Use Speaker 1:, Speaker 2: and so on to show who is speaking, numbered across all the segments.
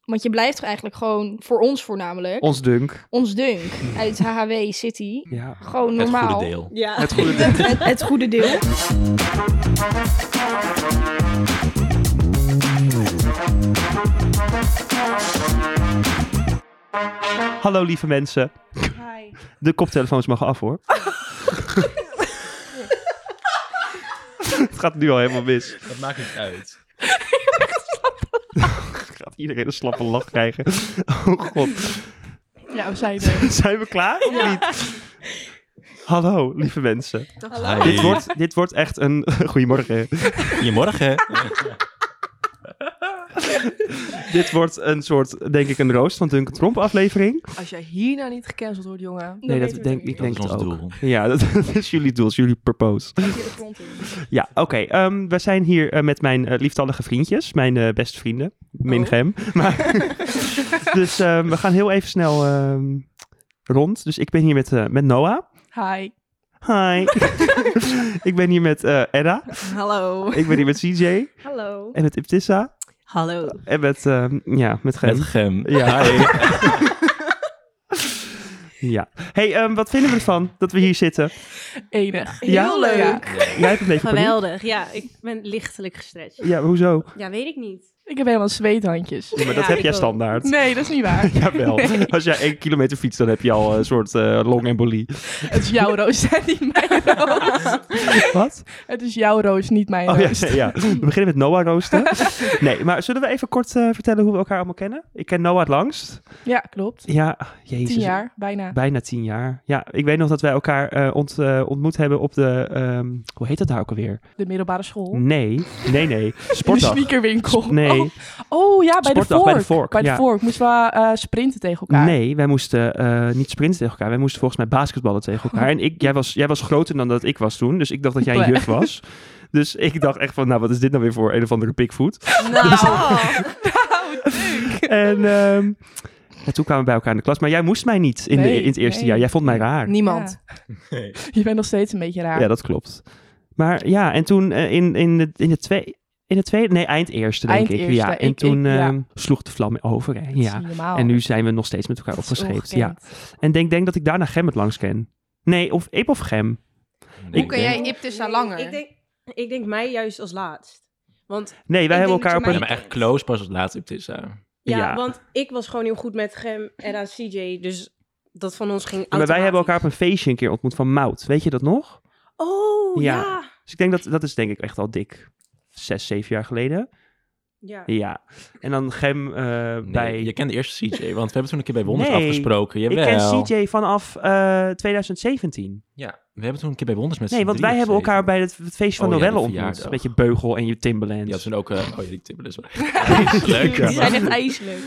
Speaker 1: Want je blijft toch eigenlijk gewoon, voor ons voornamelijk,
Speaker 2: Ons dunk.
Speaker 1: ons dunk uit HHW City.
Speaker 2: Ja.
Speaker 1: Gewoon
Speaker 3: Het
Speaker 1: normaal.
Speaker 3: goede deel.
Speaker 4: Ja.
Speaker 2: Het goede dunk.
Speaker 1: Het, het goede deel.
Speaker 2: Hallo lieve mensen. De koptelefoons mogen af hoor. het gaat nu al helemaal mis.
Speaker 3: Dat maakt niet uit.
Speaker 2: Gaat iedereen een slappe lach krijgen. Oh god.
Speaker 5: Ja, we zijn er.
Speaker 2: Zijn we klaar of niet? Hallo lieve mensen.
Speaker 3: Hi.
Speaker 2: Dit wordt, dit wordt echt een... Goedemorgen.
Speaker 3: Goedemorgen.
Speaker 2: Dit wordt een soort, denk ik, een roost van Duncan Tromp aflevering.
Speaker 5: Als jij hier nou niet gecanceld wordt, jongen.
Speaker 2: Nee, dat
Speaker 1: weten we
Speaker 2: denk ik
Speaker 3: Dat
Speaker 2: denk
Speaker 3: is
Speaker 2: het
Speaker 3: ons
Speaker 2: ook.
Speaker 3: doel.
Speaker 2: Ja, dat, dat is jullie doel, is jullie purpose.
Speaker 1: toch niet. De grond in.
Speaker 2: Ja, oké. ehm, we zijn hier eh, met mijn eh, lieftallige vriendjes, mijn eh, beste vrienden, min
Speaker 5: Oh.
Speaker 2: gem. Maar, dus ehm, we gaan heel even snel ehm, rond. Dus ik ben hier met, eh, met Noah.
Speaker 5: Hi.
Speaker 2: Hi. ik ben hier met eh Edda.
Speaker 4: Hallo.
Speaker 2: Ik ben hier met CJ.
Speaker 1: Hallo.
Speaker 2: En met Ibtissa.
Speaker 4: Hallo.
Speaker 2: En met, ehm, ja, met Gem.
Speaker 3: Met Gem.
Speaker 2: Ja.
Speaker 3: Hi.
Speaker 2: Ja. hey, ehm, wat vinden we ervan dat we hier zitten?
Speaker 5: Enig.
Speaker 2: Ja?
Speaker 5: Heel leuk.
Speaker 4: Ja.
Speaker 2: Jij hebt een beetje paniek.
Speaker 4: Geweldig. Ja, ik ben lichtelijk gestretched.
Speaker 2: Ja, hoezo?
Speaker 4: Ja, weet ik niet.
Speaker 5: Ik heb helemaal zweethandjes.
Speaker 2: Ja, maar dat
Speaker 4: Ja,
Speaker 2: heb
Speaker 4: ik
Speaker 2: jij
Speaker 4: ook.
Speaker 2: standaard.
Speaker 5: Nee, dat is niet waar.
Speaker 2: Jawel. Als jij één kilometer fietst, dan heb je al een soort eh, longembolie.
Speaker 5: Het is jouw roos en niet mijn roos.
Speaker 2: Wat?
Speaker 5: Het is jouw roos, niet mijn
Speaker 2: Oh ja,
Speaker 5: roos.
Speaker 2: ja. We beginnen met Noah roosten. Nee, maar zullen we even kort eh, vertellen hoe we elkaar allemaal kennen? Ik ken Noah het langst.
Speaker 5: Ja, klopt.
Speaker 2: Ja, jezus.
Speaker 5: Tien jaar, bijna.
Speaker 2: Bijna tien jaar. Ja, ik weet nog dat wij elkaar eh, ont- eh, ontmoet hebben op de... ehm, hoe heet dat daar ook alweer?
Speaker 5: De middelbare school.
Speaker 2: Nee, nee, nee.
Speaker 5: In de
Speaker 2: Sportdag.
Speaker 5: sneakerwinkel.
Speaker 2: Nee.
Speaker 5: Oh, oh ja, bij de
Speaker 2: Sportdag
Speaker 5: vork.
Speaker 2: bij de vork, ja.
Speaker 5: Moesten we eh, sprinten tegen elkaar.
Speaker 2: Nee, wij moesten eh, niet sprinten tegen elkaar. Wij moesten volgens mij basketballen tegen elkaar. En ik, jij, was, jij was groter dan dat ik was toen. Dus ik dacht dat jij een
Speaker 5: Bleh.
Speaker 2: juf was. Dus ik dacht echt van, nou, wat is dit nou weer voor een of andere pikvoet?
Speaker 5: Nou.
Speaker 2: En, ehm, en toen kwamen we bij elkaar in de klas. Maar jij moest mij niet in, de,
Speaker 5: Nee,
Speaker 2: in het eerste
Speaker 5: nee.
Speaker 2: jaar. Jij vond mij raar.
Speaker 1: Niemand.
Speaker 3: Nee.
Speaker 5: Je bent nog steeds een beetje raar.
Speaker 2: Ja, dat klopt. Maar ja, en toen eh, in, in, de, in de twee... In het tweede, nee, eind eerste, denk
Speaker 5: Eind
Speaker 2: ik.
Speaker 5: eerste,
Speaker 2: ja. En
Speaker 5: ik-
Speaker 2: toen
Speaker 5: ik- ja.
Speaker 2: ehm, sloeg de vlam over. Hè.
Speaker 5: Dat is
Speaker 2: Ja.
Speaker 5: niet normaal.
Speaker 2: En nu zijn we nog steeds met elkaar
Speaker 5: Dat is
Speaker 2: opgescheept. Ja.
Speaker 5: ongekend.
Speaker 2: En denk, denk dat ik daarna Gem het langs ken. Nee, of Ip of Gem.
Speaker 3: Nee,
Speaker 1: Hoe kan
Speaker 3: ik
Speaker 1: jij
Speaker 3: denk-
Speaker 1: Iptissa langer?
Speaker 4: Ik denk, ik denk mij juist als laatst. Want
Speaker 2: Nee, wij
Speaker 4: Ik
Speaker 2: hebben
Speaker 4: denk
Speaker 2: elkaar
Speaker 4: dat
Speaker 2: op
Speaker 4: je
Speaker 2: een...
Speaker 3: Ja, maar echt close pas als laatste op dit zou.
Speaker 4: ja,
Speaker 2: Ja.
Speaker 4: want ik was gewoon heel goed met Gem en aan CJ. Dus dat van ons ging
Speaker 2: Maar wij hebben elkaar op
Speaker 4: automatisch.
Speaker 2: een feestje een keer ontmoet van Mout. Weet je dat nog?
Speaker 4: Oh,
Speaker 2: Ja.
Speaker 4: ja. Ja.
Speaker 2: Dus ik denk dat dat is denk ik echt al dik zes, zeven jaar geleden. Ja. En dan Gem eh,
Speaker 3: Nee,
Speaker 2: bij...
Speaker 3: Je kent de eerste CJ, want we hebben toen een keer bij Wonders
Speaker 2: Nee,
Speaker 3: afgesproken.
Speaker 2: ik
Speaker 3: Jawel.
Speaker 2: ken CJ vanaf eh, 2017.
Speaker 3: Ja, we hebben toen een keer bij Wonders met z'n
Speaker 2: Nee, want
Speaker 3: drieën
Speaker 2: wij hebben elkaar
Speaker 3: gezeten.
Speaker 2: bij het, het feestje van
Speaker 3: Oh ja, de
Speaker 2: Noelle ontmoet.
Speaker 3: verjaardag.
Speaker 2: Met je beugel en je Timberlands.
Speaker 3: Ja, toen ook... eh, oh ja, die tippen dus wel. Dat is Leuk,
Speaker 4: Die
Speaker 3: ja.
Speaker 4: zijn echt ijselijk.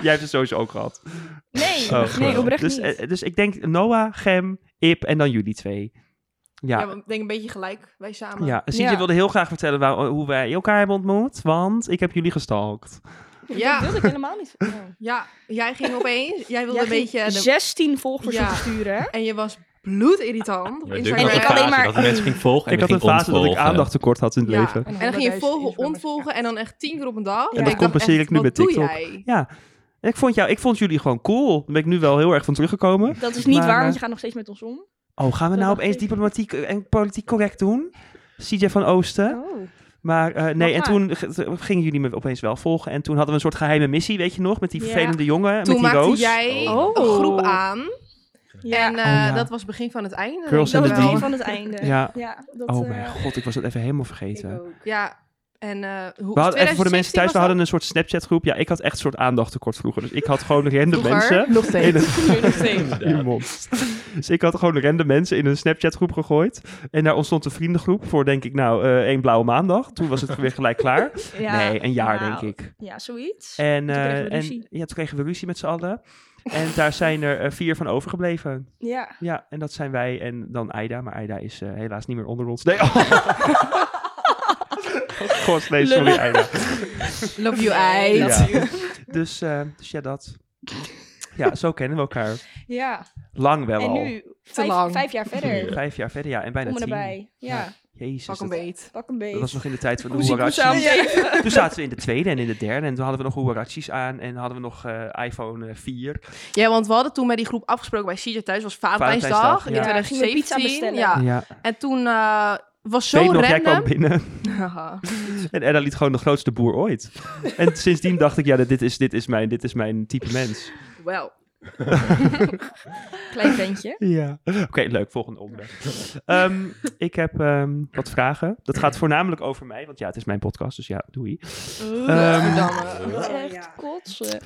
Speaker 2: Jij hebt het sowieso ook gehad.
Speaker 1: Nee, nee
Speaker 2: geweldig.
Speaker 1: oprecht
Speaker 2: dus,
Speaker 1: niet.
Speaker 2: eh, dus ik denk Noah, Gem, Ip en dan jullie twee. Ja,
Speaker 5: Ja, want ik denk een beetje gelijk. Wij samen.
Speaker 2: Ja, CJ
Speaker 1: Ja.
Speaker 2: wilde heel graag vertellen waar- hoe wij elkaar hebben ontmoet, want ik heb jullie gestalkt. eh,
Speaker 4: Dat
Speaker 1: Ja,
Speaker 4: wilde ik helemaal niet.
Speaker 6: Ja, jij ging opeens. Jij wilde
Speaker 1: Jij
Speaker 6: een
Speaker 1: ging
Speaker 6: beetje. de-
Speaker 1: 16 volgers
Speaker 6: Ja.
Speaker 1: opsturen. hè?
Speaker 6: En je was bloedirritant. op
Speaker 3: Maar Dirk
Speaker 6: Instagram.
Speaker 3: had een
Speaker 1: Ik alleen
Speaker 3: fase
Speaker 1: maar-
Speaker 3: dat de mensen ging volgen en
Speaker 2: ik had een
Speaker 3: ging
Speaker 2: fase dat ik
Speaker 3: ontvolgen.
Speaker 2: aandacht tekort had in het
Speaker 6: Ja.
Speaker 2: leven.
Speaker 6: En dan ging je volgen, ontvolgen en dan echt tien keer op een dag.
Speaker 2: dat
Speaker 6: dacht
Speaker 2: compenseer
Speaker 6: echt,
Speaker 2: ik nu
Speaker 6: wat
Speaker 2: met
Speaker 6: doe
Speaker 2: TikTok.
Speaker 6: jij?
Speaker 2: Ja, en ik vond, jou, ik vond jullie gewoon cool. Daar ben ik nu wel heel erg van teruggekomen.
Speaker 1: Dat is niet
Speaker 2: Maar,
Speaker 1: waar,
Speaker 2: eh,
Speaker 1: want je gaat nog steeds met ons om.
Speaker 2: Oh, gaan we
Speaker 1: Dat
Speaker 2: nou
Speaker 1: dacht
Speaker 2: opeens
Speaker 1: ik.
Speaker 2: diplomatiek en politiek correct doen? CJ van Oosten.
Speaker 1: Oh.
Speaker 2: Maar eh, nee, en
Speaker 1: maar.
Speaker 2: toen ge- gingen jullie me opeens wel volgen. En toen hadden we een soort geheime missie, weet je nog? Met die
Speaker 1: Ja.
Speaker 2: vervelende jongen,
Speaker 6: Toen
Speaker 2: met die
Speaker 6: maakte
Speaker 2: roos.
Speaker 6: jij
Speaker 1: Oh.
Speaker 6: een groep aan.
Speaker 1: Ja.
Speaker 6: En eh,
Speaker 2: Oh, ja.
Speaker 6: dat was het begin van het einde.
Speaker 2: Girls
Speaker 6: denk
Speaker 1: Dat
Speaker 2: in
Speaker 1: was
Speaker 6: ik
Speaker 2: the
Speaker 1: het
Speaker 6: wel.
Speaker 1: begin van het einde.
Speaker 2: Ja.
Speaker 1: ja dat,
Speaker 2: Oh
Speaker 1: eh,
Speaker 2: mijn god, ik was dat even helemaal
Speaker 4: Ik
Speaker 2: vergeten.
Speaker 4: ook.
Speaker 6: Ja. En eh, hoe
Speaker 2: We hadden even voor de
Speaker 6: 2016
Speaker 2: mensen thuis,
Speaker 6: was
Speaker 2: we
Speaker 6: dat?
Speaker 2: hadden een soort Snapchat groep. Ja, ik had echt een soort aandachttekort vroeger. Dus ik had gewoon random
Speaker 6: Vroeger?
Speaker 2: mensen.
Speaker 5: Nog steeds.
Speaker 2: In
Speaker 5: Nog steeds.
Speaker 2: Je mond. Dus ik had gewoon random mensen in een Snapchat groep gegooid. En daar ontstond een vriendengroep voor denk ik nou eh, één blauwe maandag. Toen was het weer gelijk klaar.
Speaker 1: ja,
Speaker 2: nee, een jaar
Speaker 1: nou,
Speaker 2: denk ik.
Speaker 1: Ja, zoiets.
Speaker 2: En,
Speaker 1: kregen we
Speaker 2: eh, en
Speaker 1: ruzie.
Speaker 2: ja, toen kregen we ruzie met z'n allen. En daar zijn er eh, vier van overgebleven.
Speaker 1: Ja.
Speaker 2: Ja, en dat zijn wij en dan Aida. Maar Aida is eh, helaas niet meer onder ons. Nee, oh. God, nee, sorry Aida.
Speaker 6: Love you, ei.
Speaker 2: Ja.
Speaker 6: Dat-
Speaker 2: Dus, eh, dus ja, dat. Ja, zo kennen we elkaar.
Speaker 1: ja.
Speaker 2: Lang wel
Speaker 1: En
Speaker 2: al.
Speaker 1: nu, vijf,
Speaker 6: lang.
Speaker 1: vijf jaar verder.
Speaker 2: Vijf jaar verder, ja. En bijna
Speaker 1: Kom
Speaker 2: tien.
Speaker 1: erbij. Ja.
Speaker 2: Jezus.
Speaker 6: Pak een
Speaker 2: Dat,
Speaker 6: beet.
Speaker 1: Pak een
Speaker 2: dat
Speaker 1: beetje.
Speaker 2: was nog in de tijd van de
Speaker 5: Koezie,
Speaker 2: Huarachi.
Speaker 5: koezie.
Speaker 2: Toen zaten we in de tweede en in de derde. En toen hadden we nog Huarachis aan. En hadden we nog eh, iPhone eh, 4.
Speaker 6: Ja, want we hadden toen met die groep afgesproken bij CJ thuis. was
Speaker 2: Valentijnsdag,
Speaker 6: Valentijnsdag
Speaker 2: ja.
Speaker 6: in
Speaker 1: Ja, gingen we pizza
Speaker 6: 2017.
Speaker 1: bestellen.
Speaker 6: Ja.
Speaker 2: Ja.
Speaker 6: En toen eh, was
Speaker 2: Ik
Speaker 6: Ah, zo
Speaker 2: weet nog, jij kwam
Speaker 6: random.
Speaker 2: binnen.
Speaker 6: Haha.
Speaker 2: En Edda liet gewoon de grootste boer ooit. en sindsdien dacht ik, ja, dit is, dit is, mijn, dit is mijn type mens.
Speaker 6: Wel.
Speaker 1: Klein ventje.
Speaker 2: Ja. Oké, leuk. Volgende onderwerp. Ehm, ik heb ehm, wat vragen. Dat gaat voornamelijk over mij, want ja, het is mijn podcast, dus ja, doei. Ehm,
Speaker 6: Verdamme.
Speaker 1: eh, Dat is
Speaker 4: Oh,
Speaker 1: echt
Speaker 4: ja.
Speaker 1: kotsen.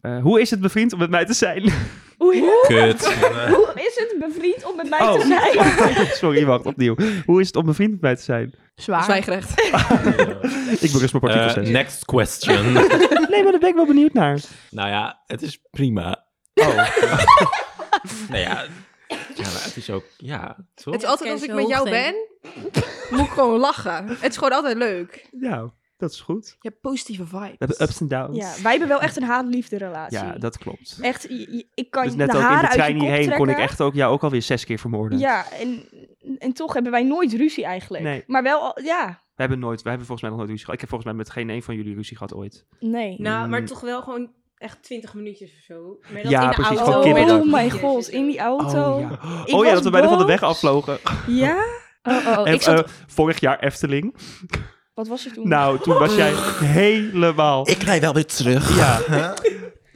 Speaker 2: eh, hoe is het bevriend om met mij te zijn?
Speaker 1: Oei,
Speaker 3: Kut.
Speaker 1: hoe is het bevriend om met mij
Speaker 2: Oh.
Speaker 1: te zijn?
Speaker 2: Sorry, wacht, opnieuw. Hoe is het om bevriend met mij te zijn?
Speaker 5: Zwaar.
Speaker 6: Zwijgrecht.
Speaker 2: Ik ben dus mijn
Speaker 3: Eh,
Speaker 2: partikels.
Speaker 3: next question.
Speaker 2: nee, maar daar ben ik wel benieuwd naar.
Speaker 3: nou ja, het is prima.
Speaker 2: Oh,
Speaker 3: Nou ja, ja maar het is ook... Ja, toch?
Speaker 6: Het is altijd als ik met jou ben,
Speaker 4: Hersenhoogte.
Speaker 6: moet ik gewoon lachen. Het is gewoon altijd leuk.
Speaker 2: ja, dat is goed.
Speaker 6: Je hebt positieve
Speaker 2: We hebben
Speaker 6: vibes.
Speaker 2: ups en downs.
Speaker 1: Ja, wij hebben wel echt een haat-liefde relatie.
Speaker 2: Ja, dat klopt.
Speaker 1: Echt, je- je- ik kan
Speaker 2: Dus
Speaker 1: de
Speaker 2: net ook in de
Speaker 1: haren uit je
Speaker 2: trein
Speaker 1: kop
Speaker 2: hierheen
Speaker 1: trekken.
Speaker 2: kon ik echt ook, ja, ook alweer zes keer vermoorden.
Speaker 1: Ja, en, en toch hebben wij nooit ruzie eigenlijk.
Speaker 2: Nee.
Speaker 1: Maar wel, al- ja,
Speaker 2: We hebben nooit, we hebben volgens mij nog nooit ruzie gehad. Ik heb volgens mij met geen een van jullie ruzie gehad ooit.
Speaker 1: nee.
Speaker 4: Nou, maar
Speaker 2: Mm.
Speaker 4: toch wel gewoon echt 20 minuutjes of zo. Maar dat
Speaker 2: Ja,
Speaker 4: in de
Speaker 2: precies,
Speaker 4: auto.
Speaker 2: gewoon
Speaker 1: oh,
Speaker 2: kinderen.
Speaker 1: oh mijn god, in die auto.
Speaker 2: Oh ja,
Speaker 1: Ik
Speaker 2: oh, ja
Speaker 1: was
Speaker 2: dat we bijna van de weg
Speaker 1: boos.
Speaker 2: afvlogen.
Speaker 1: Ja? Oh, oh,
Speaker 2: En,
Speaker 1: ik zat,
Speaker 2: eh, vorig jaar Efteling.
Speaker 1: wat was er toen?
Speaker 2: Nou, toen was jij helemaal...
Speaker 7: Ik rij wel weer terug.
Speaker 2: Ja.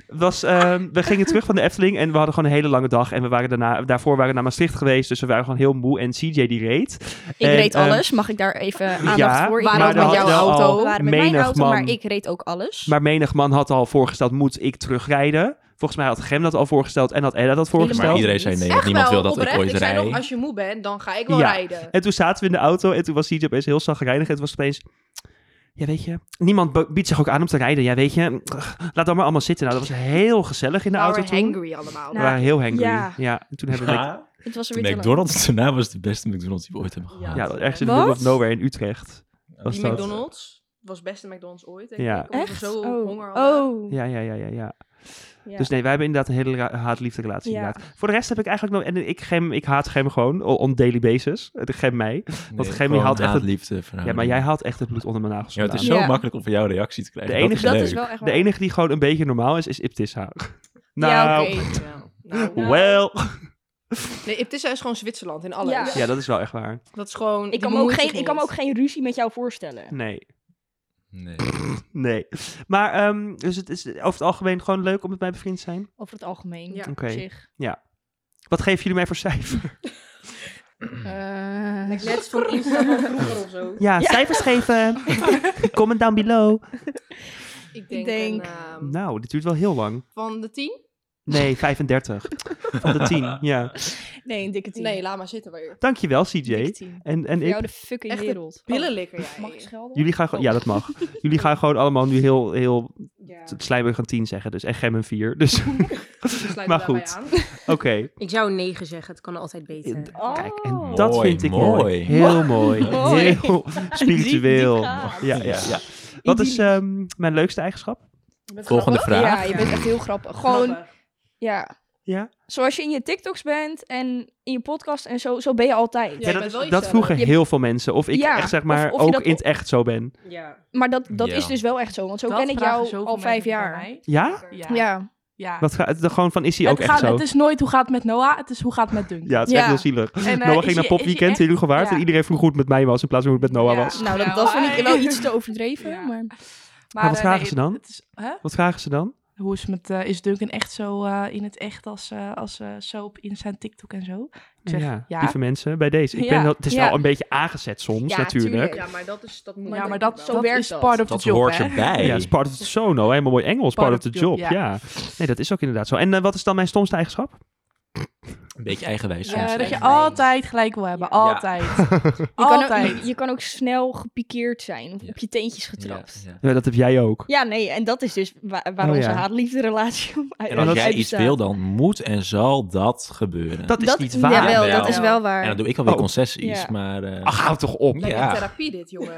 Speaker 2: Was, ehm, we gingen terug van de Efteling en we hadden gewoon een hele lange dag. En we waren daarna, daarvoor waren we naar Maastricht geweest, dus we waren gewoon heel moe. En CJ die reed.
Speaker 8: Ik
Speaker 2: En,
Speaker 8: reed
Speaker 2: ehm,
Speaker 8: alles. Mag ik daar even aandacht
Speaker 2: ja,
Speaker 8: voor? Ik
Speaker 6: maar
Speaker 8: reed
Speaker 6: dat had
Speaker 8: jouw
Speaker 6: wel al
Speaker 8: We waren met mijn
Speaker 2: menig
Speaker 8: auto,
Speaker 2: man.
Speaker 8: maar ik reed ook alles.
Speaker 2: Maar menig man had al voorgesteld, moet ik terugrijden? Volgens mij had Gem dat al voorgesteld en had Edda dat
Speaker 3: maar
Speaker 2: voorgesteld.
Speaker 3: iedereen zei nee, want
Speaker 6: Echt
Speaker 3: niemand
Speaker 6: wel,
Speaker 3: wil dat
Speaker 6: oprecht.
Speaker 3: ik ooit
Speaker 6: Ik zei nog,
Speaker 3: rij.
Speaker 6: als je moe bent, dan ga ik wel
Speaker 2: Ja.
Speaker 6: rijden.
Speaker 2: En toen zaten we in de auto en toen was CJ opeens heel zagrijnig. En toen was het opeens... Ja, weet je, niemand bo- biedt zich ook aan om te rijden. Ja, weet je, laat dan maar allemaal zitten. Nou, dat was heel gezellig in de
Speaker 6: Nou,
Speaker 2: auto
Speaker 6: we're
Speaker 2: toen.
Speaker 6: hangry allemaal.
Speaker 2: We
Speaker 1: Nou,
Speaker 2: waren heel hangry. Ja,
Speaker 1: ja.
Speaker 2: en toen hebben we...
Speaker 8: het was er
Speaker 3: De
Speaker 8: weer te lang.
Speaker 3: McDonald's daarna was de beste McDonald's die we ooit hebben gehad.
Speaker 2: Ja, dat ergens in de
Speaker 1: Wat?
Speaker 2: middle of nowhere in Utrecht. Was
Speaker 6: Die
Speaker 2: dat.
Speaker 6: McDonald's was best een McDonald's ooit. Denk
Speaker 2: Ja.
Speaker 6: ik, omdat we
Speaker 1: echt?
Speaker 6: zo
Speaker 1: oh.
Speaker 6: honger hadden.
Speaker 1: oh.
Speaker 2: Ja, ja, ja, ja, ja.
Speaker 1: Ja.
Speaker 2: Dus nee, wij hebben inderdaad een hele ra- haat-liefde relatie.
Speaker 1: Ja.
Speaker 2: Inderdaad. Voor de rest heb ik eigenlijk nog... En ik, gem, ik haat Gem gewoon, o- on daily basis. De Gem mij. Want Gemmy haalt echt het-
Speaker 3: liefde.
Speaker 2: Ja, maar jij haalt echt het bloed onder mijn nagels
Speaker 3: Ja, het is
Speaker 2: vandaan.
Speaker 3: zo
Speaker 8: Ja.
Speaker 3: makkelijk om van jou een reactie te krijgen.
Speaker 2: De
Speaker 3: dat
Speaker 2: enige-
Speaker 3: is
Speaker 8: Dat
Speaker 3: leuk.
Speaker 8: is wel echt waar.
Speaker 2: De enige die gewoon een beetje normaal is, is Iptissa. Nou,
Speaker 8: Ja, oké.
Speaker 6: Nou,
Speaker 2: well.
Speaker 6: nee, het is juist gewoon Zwitserland in alles.
Speaker 1: Ja.
Speaker 2: Ja, dat is wel echt waar.
Speaker 6: Dat is gewoon... die
Speaker 1: Ik kan, me ook
Speaker 6: bemoeit zich
Speaker 1: geen, ik kan me
Speaker 6: niet.
Speaker 1: ook geen ruzie met jou voorstellen.
Speaker 2: Nee,
Speaker 3: Nee.
Speaker 2: nee. Maar, ehm, dus het is over het algemeen gewoon leuk om met mij bevriend te zijn.
Speaker 8: Over het algemeen.
Speaker 6: Ja.
Speaker 8: Ja.
Speaker 2: Oké.
Speaker 8: Op zich.
Speaker 2: Wat geven jullie mij voor cijfer?
Speaker 8: Eh,
Speaker 4: Net voor Insta van vroeger of zo.
Speaker 2: Ja, cijfers geven. Comment down below.
Speaker 6: Ik denk,
Speaker 1: denk-
Speaker 6: een, ehm,
Speaker 2: Nou, dit duurt wel heel lang.
Speaker 6: van de tien?
Speaker 2: Nee, 35. Van de 10, ja.
Speaker 1: Nee, een dikke tien.
Speaker 6: Nee, laat maar zitten weer.
Speaker 2: Dankjewel,
Speaker 8: dikke
Speaker 2: CJ.
Speaker 8: tien.
Speaker 2: En, en
Speaker 1: Voor jou dus
Speaker 2: ik.
Speaker 1: de fucking
Speaker 6: Echt een
Speaker 1: wereld.
Speaker 6: Pillenlikker
Speaker 1: Oh, Mag ik
Speaker 6: jij.
Speaker 1: schelden?
Speaker 2: Jullie gaan gewoon, ja, dat mag. Jullie gaan gewoon allemaal nu heel, heel
Speaker 4: Ja.
Speaker 2: slijmerig een 10 zeggen. Dus en Gem een 4. Dus oké.
Speaker 6: Sluit
Speaker 2: Maar
Speaker 6: me daarbij
Speaker 2: goed.
Speaker 6: aan.
Speaker 4: Ik zou een 9 zeggen, het kan altijd beter.
Speaker 1: Oh.
Speaker 2: Kijk, en dat
Speaker 3: Mooi,
Speaker 2: vind ik mooi.
Speaker 3: mooi.
Speaker 2: Heel mooi.
Speaker 1: Mooi.
Speaker 2: Heel spiritueel.
Speaker 1: Diep, diep gaaf.
Speaker 2: ja, ja, ja. Wat is ehm, mijn leukste eigenschap?
Speaker 3: Volgende vraag.
Speaker 1: Ja, je bent echt heel grappig.
Speaker 2: Oh,
Speaker 1: Gewoon, ja.
Speaker 2: Ja?
Speaker 1: Zoals je in je TikToks bent en in je podcast en zo, zo ben je altijd.
Speaker 6: Ja, je
Speaker 2: dat,
Speaker 6: bent wel
Speaker 2: dat
Speaker 6: jezelf.
Speaker 2: vroegen
Speaker 1: Je-
Speaker 2: heel veel mensen. Of ik
Speaker 1: Ja,
Speaker 2: echt zeg
Speaker 1: of-
Speaker 2: maar
Speaker 1: of je
Speaker 2: ook
Speaker 1: dat-
Speaker 2: in het echt zo ben.
Speaker 5: Ja.
Speaker 1: Maar dat, dat
Speaker 3: Ja.
Speaker 1: is dus wel echt zo, want zo ken ik jou al vijf jaar.
Speaker 2: Ja?
Speaker 5: Ja. ja.
Speaker 1: Ja.
Speaker 2: Wat ga, het- gewoon van is hij ook
Speaker 5: het,
Speaker 2: echt
Speaker 5: gaat,
Speaker 2: zo?
Speaker 5: het is nooit hoe gaat het met Noah, het is hoe gaat het met Dunk.
Speaker 2: Ja, het is echt
Speaker 1: Ja.
Speaker 2: heel zielig.
Speaker 5: En, eh,
Speaker 2: Noah
Speaker 5: is
Speaker 2: ging naar
Speaker 5: je- is je
Speaker 2: popweekend
Speaker 5: echt-
Speaker 2: in Hugo Waard
Speaker 5: ja.
Speaker 2: en iedereen vroeg hoe het met mij was in plaats van hoe het met Noah
Speaker 5: Ja.
Speaker 2: was.
Speaker 1: Nou, dat, dat vind ik wel
Speaker 5: Hi.
Speaker 1: iets te overdreven,
Speaker 5: Ja.
Speaker 1: maar...
Speaker 5: Maar,
Speaker 2: wat
Speaker 5: eh,
Speaker 2: vragen
Speaker 5: nee,
Speaker 2: ze dan?
Speaker 5: het is- hè?
Speaker 2: Wat vragen ze dan?
Speaker 5: Hoe is, het met, eh, is Duncan echt zo eh, in het echt als, eh, als eh, zo op Insta en TikTok en zo? Ik zeg,
Speaker 2: ja,
Speaker 5: ja.
Speaker 2: lieve mensen, bij deze. Ik
Speaker 5: Ja.
Speaker 2: ben wel, het is
Speaker 1: Ja.
Speaker 2: wel een beetje aangezet soms
Speaker 1: Ja,
Speaker 2: natuurlijk.
Speaker 1: tuurlijk.
Speaker 6: Ja, maar dat is... Dat moet
Speaker 5: Ja, maar
Speaker 6: denk ik
Speaker 5: dat,
Speaker 6: wel.
Speaker 1: zo
Speaker 5: dat
Speaker 1: werkt
Speaker 5: is
Speaker 1: dat.
Speaker 5: part of
Speaker 3: Dat
Speaker 5: the job,
Speaker 3: hoort
Speaker 5: hè?
Speaker 3: erbij.
Speaker 2: Ja, het is part of the show, no. Helemaal mooi Engels, part, of the job. ja. Nee, dat is ook inderdaad zo. En eh, wat is dan mijn stomste eigenschap?
Speaker 3: Een beetje eigenwijs
Speaker 5: Eh,
Speaker 3: soms.
Speaker 5: dat je
Speaker 3: hè?
Speaker 5: altijd gelijk wil hebben,
Speaker 6: Ja.
Speaker 5: altijd.
Speaker 1: Je kan, ook,
Speaker 5: altijd.
Speaker 1: je, je kan ook snel gepikeerd zijn, of
Speaker 3: Ja.
Speaker 1: op je teentjes
Speaker 3: Ja,
Speaker 1: getrapt. Ja,
Speaker 3: ja.
Speaker 2: Ja, dat heb jij ook.
Speaker 1: nee, en dat is dus wa- waar
Speaker 2: Oh,
Speaker 1: onze
Speaker 2: ja.
Speaker 1: haatliefde relatie om uit
Speaker 3: En als
Speaker 2: dat
Speaker 3: jij
Speaker 1: uit
Speaker 3: iets
Speaker 1: bestaat.
Speaker 3: wil, dan moet en zal dat gebeuren.
Speaker 2: eh, Dat is
Speaker 8: dat,
Speaker 2: niet waar.
Speaker 8: jawel,
Speaker 3: Jawel.
Speaker 8: dat is wel
Speaker 3: En dan
Speaker 8: waar.
Speaker 3: doe ik alweer
Speaker 2: Oh.
Speaker 3: concessies,
Speaker 1: Ja.
Speaker 3: maar... eh,
Speaker 2: Ach, hou toch op.
Speaker 6: Lekker
Speaker 3: Ja.
Speaker 6: therapie dit, jongen.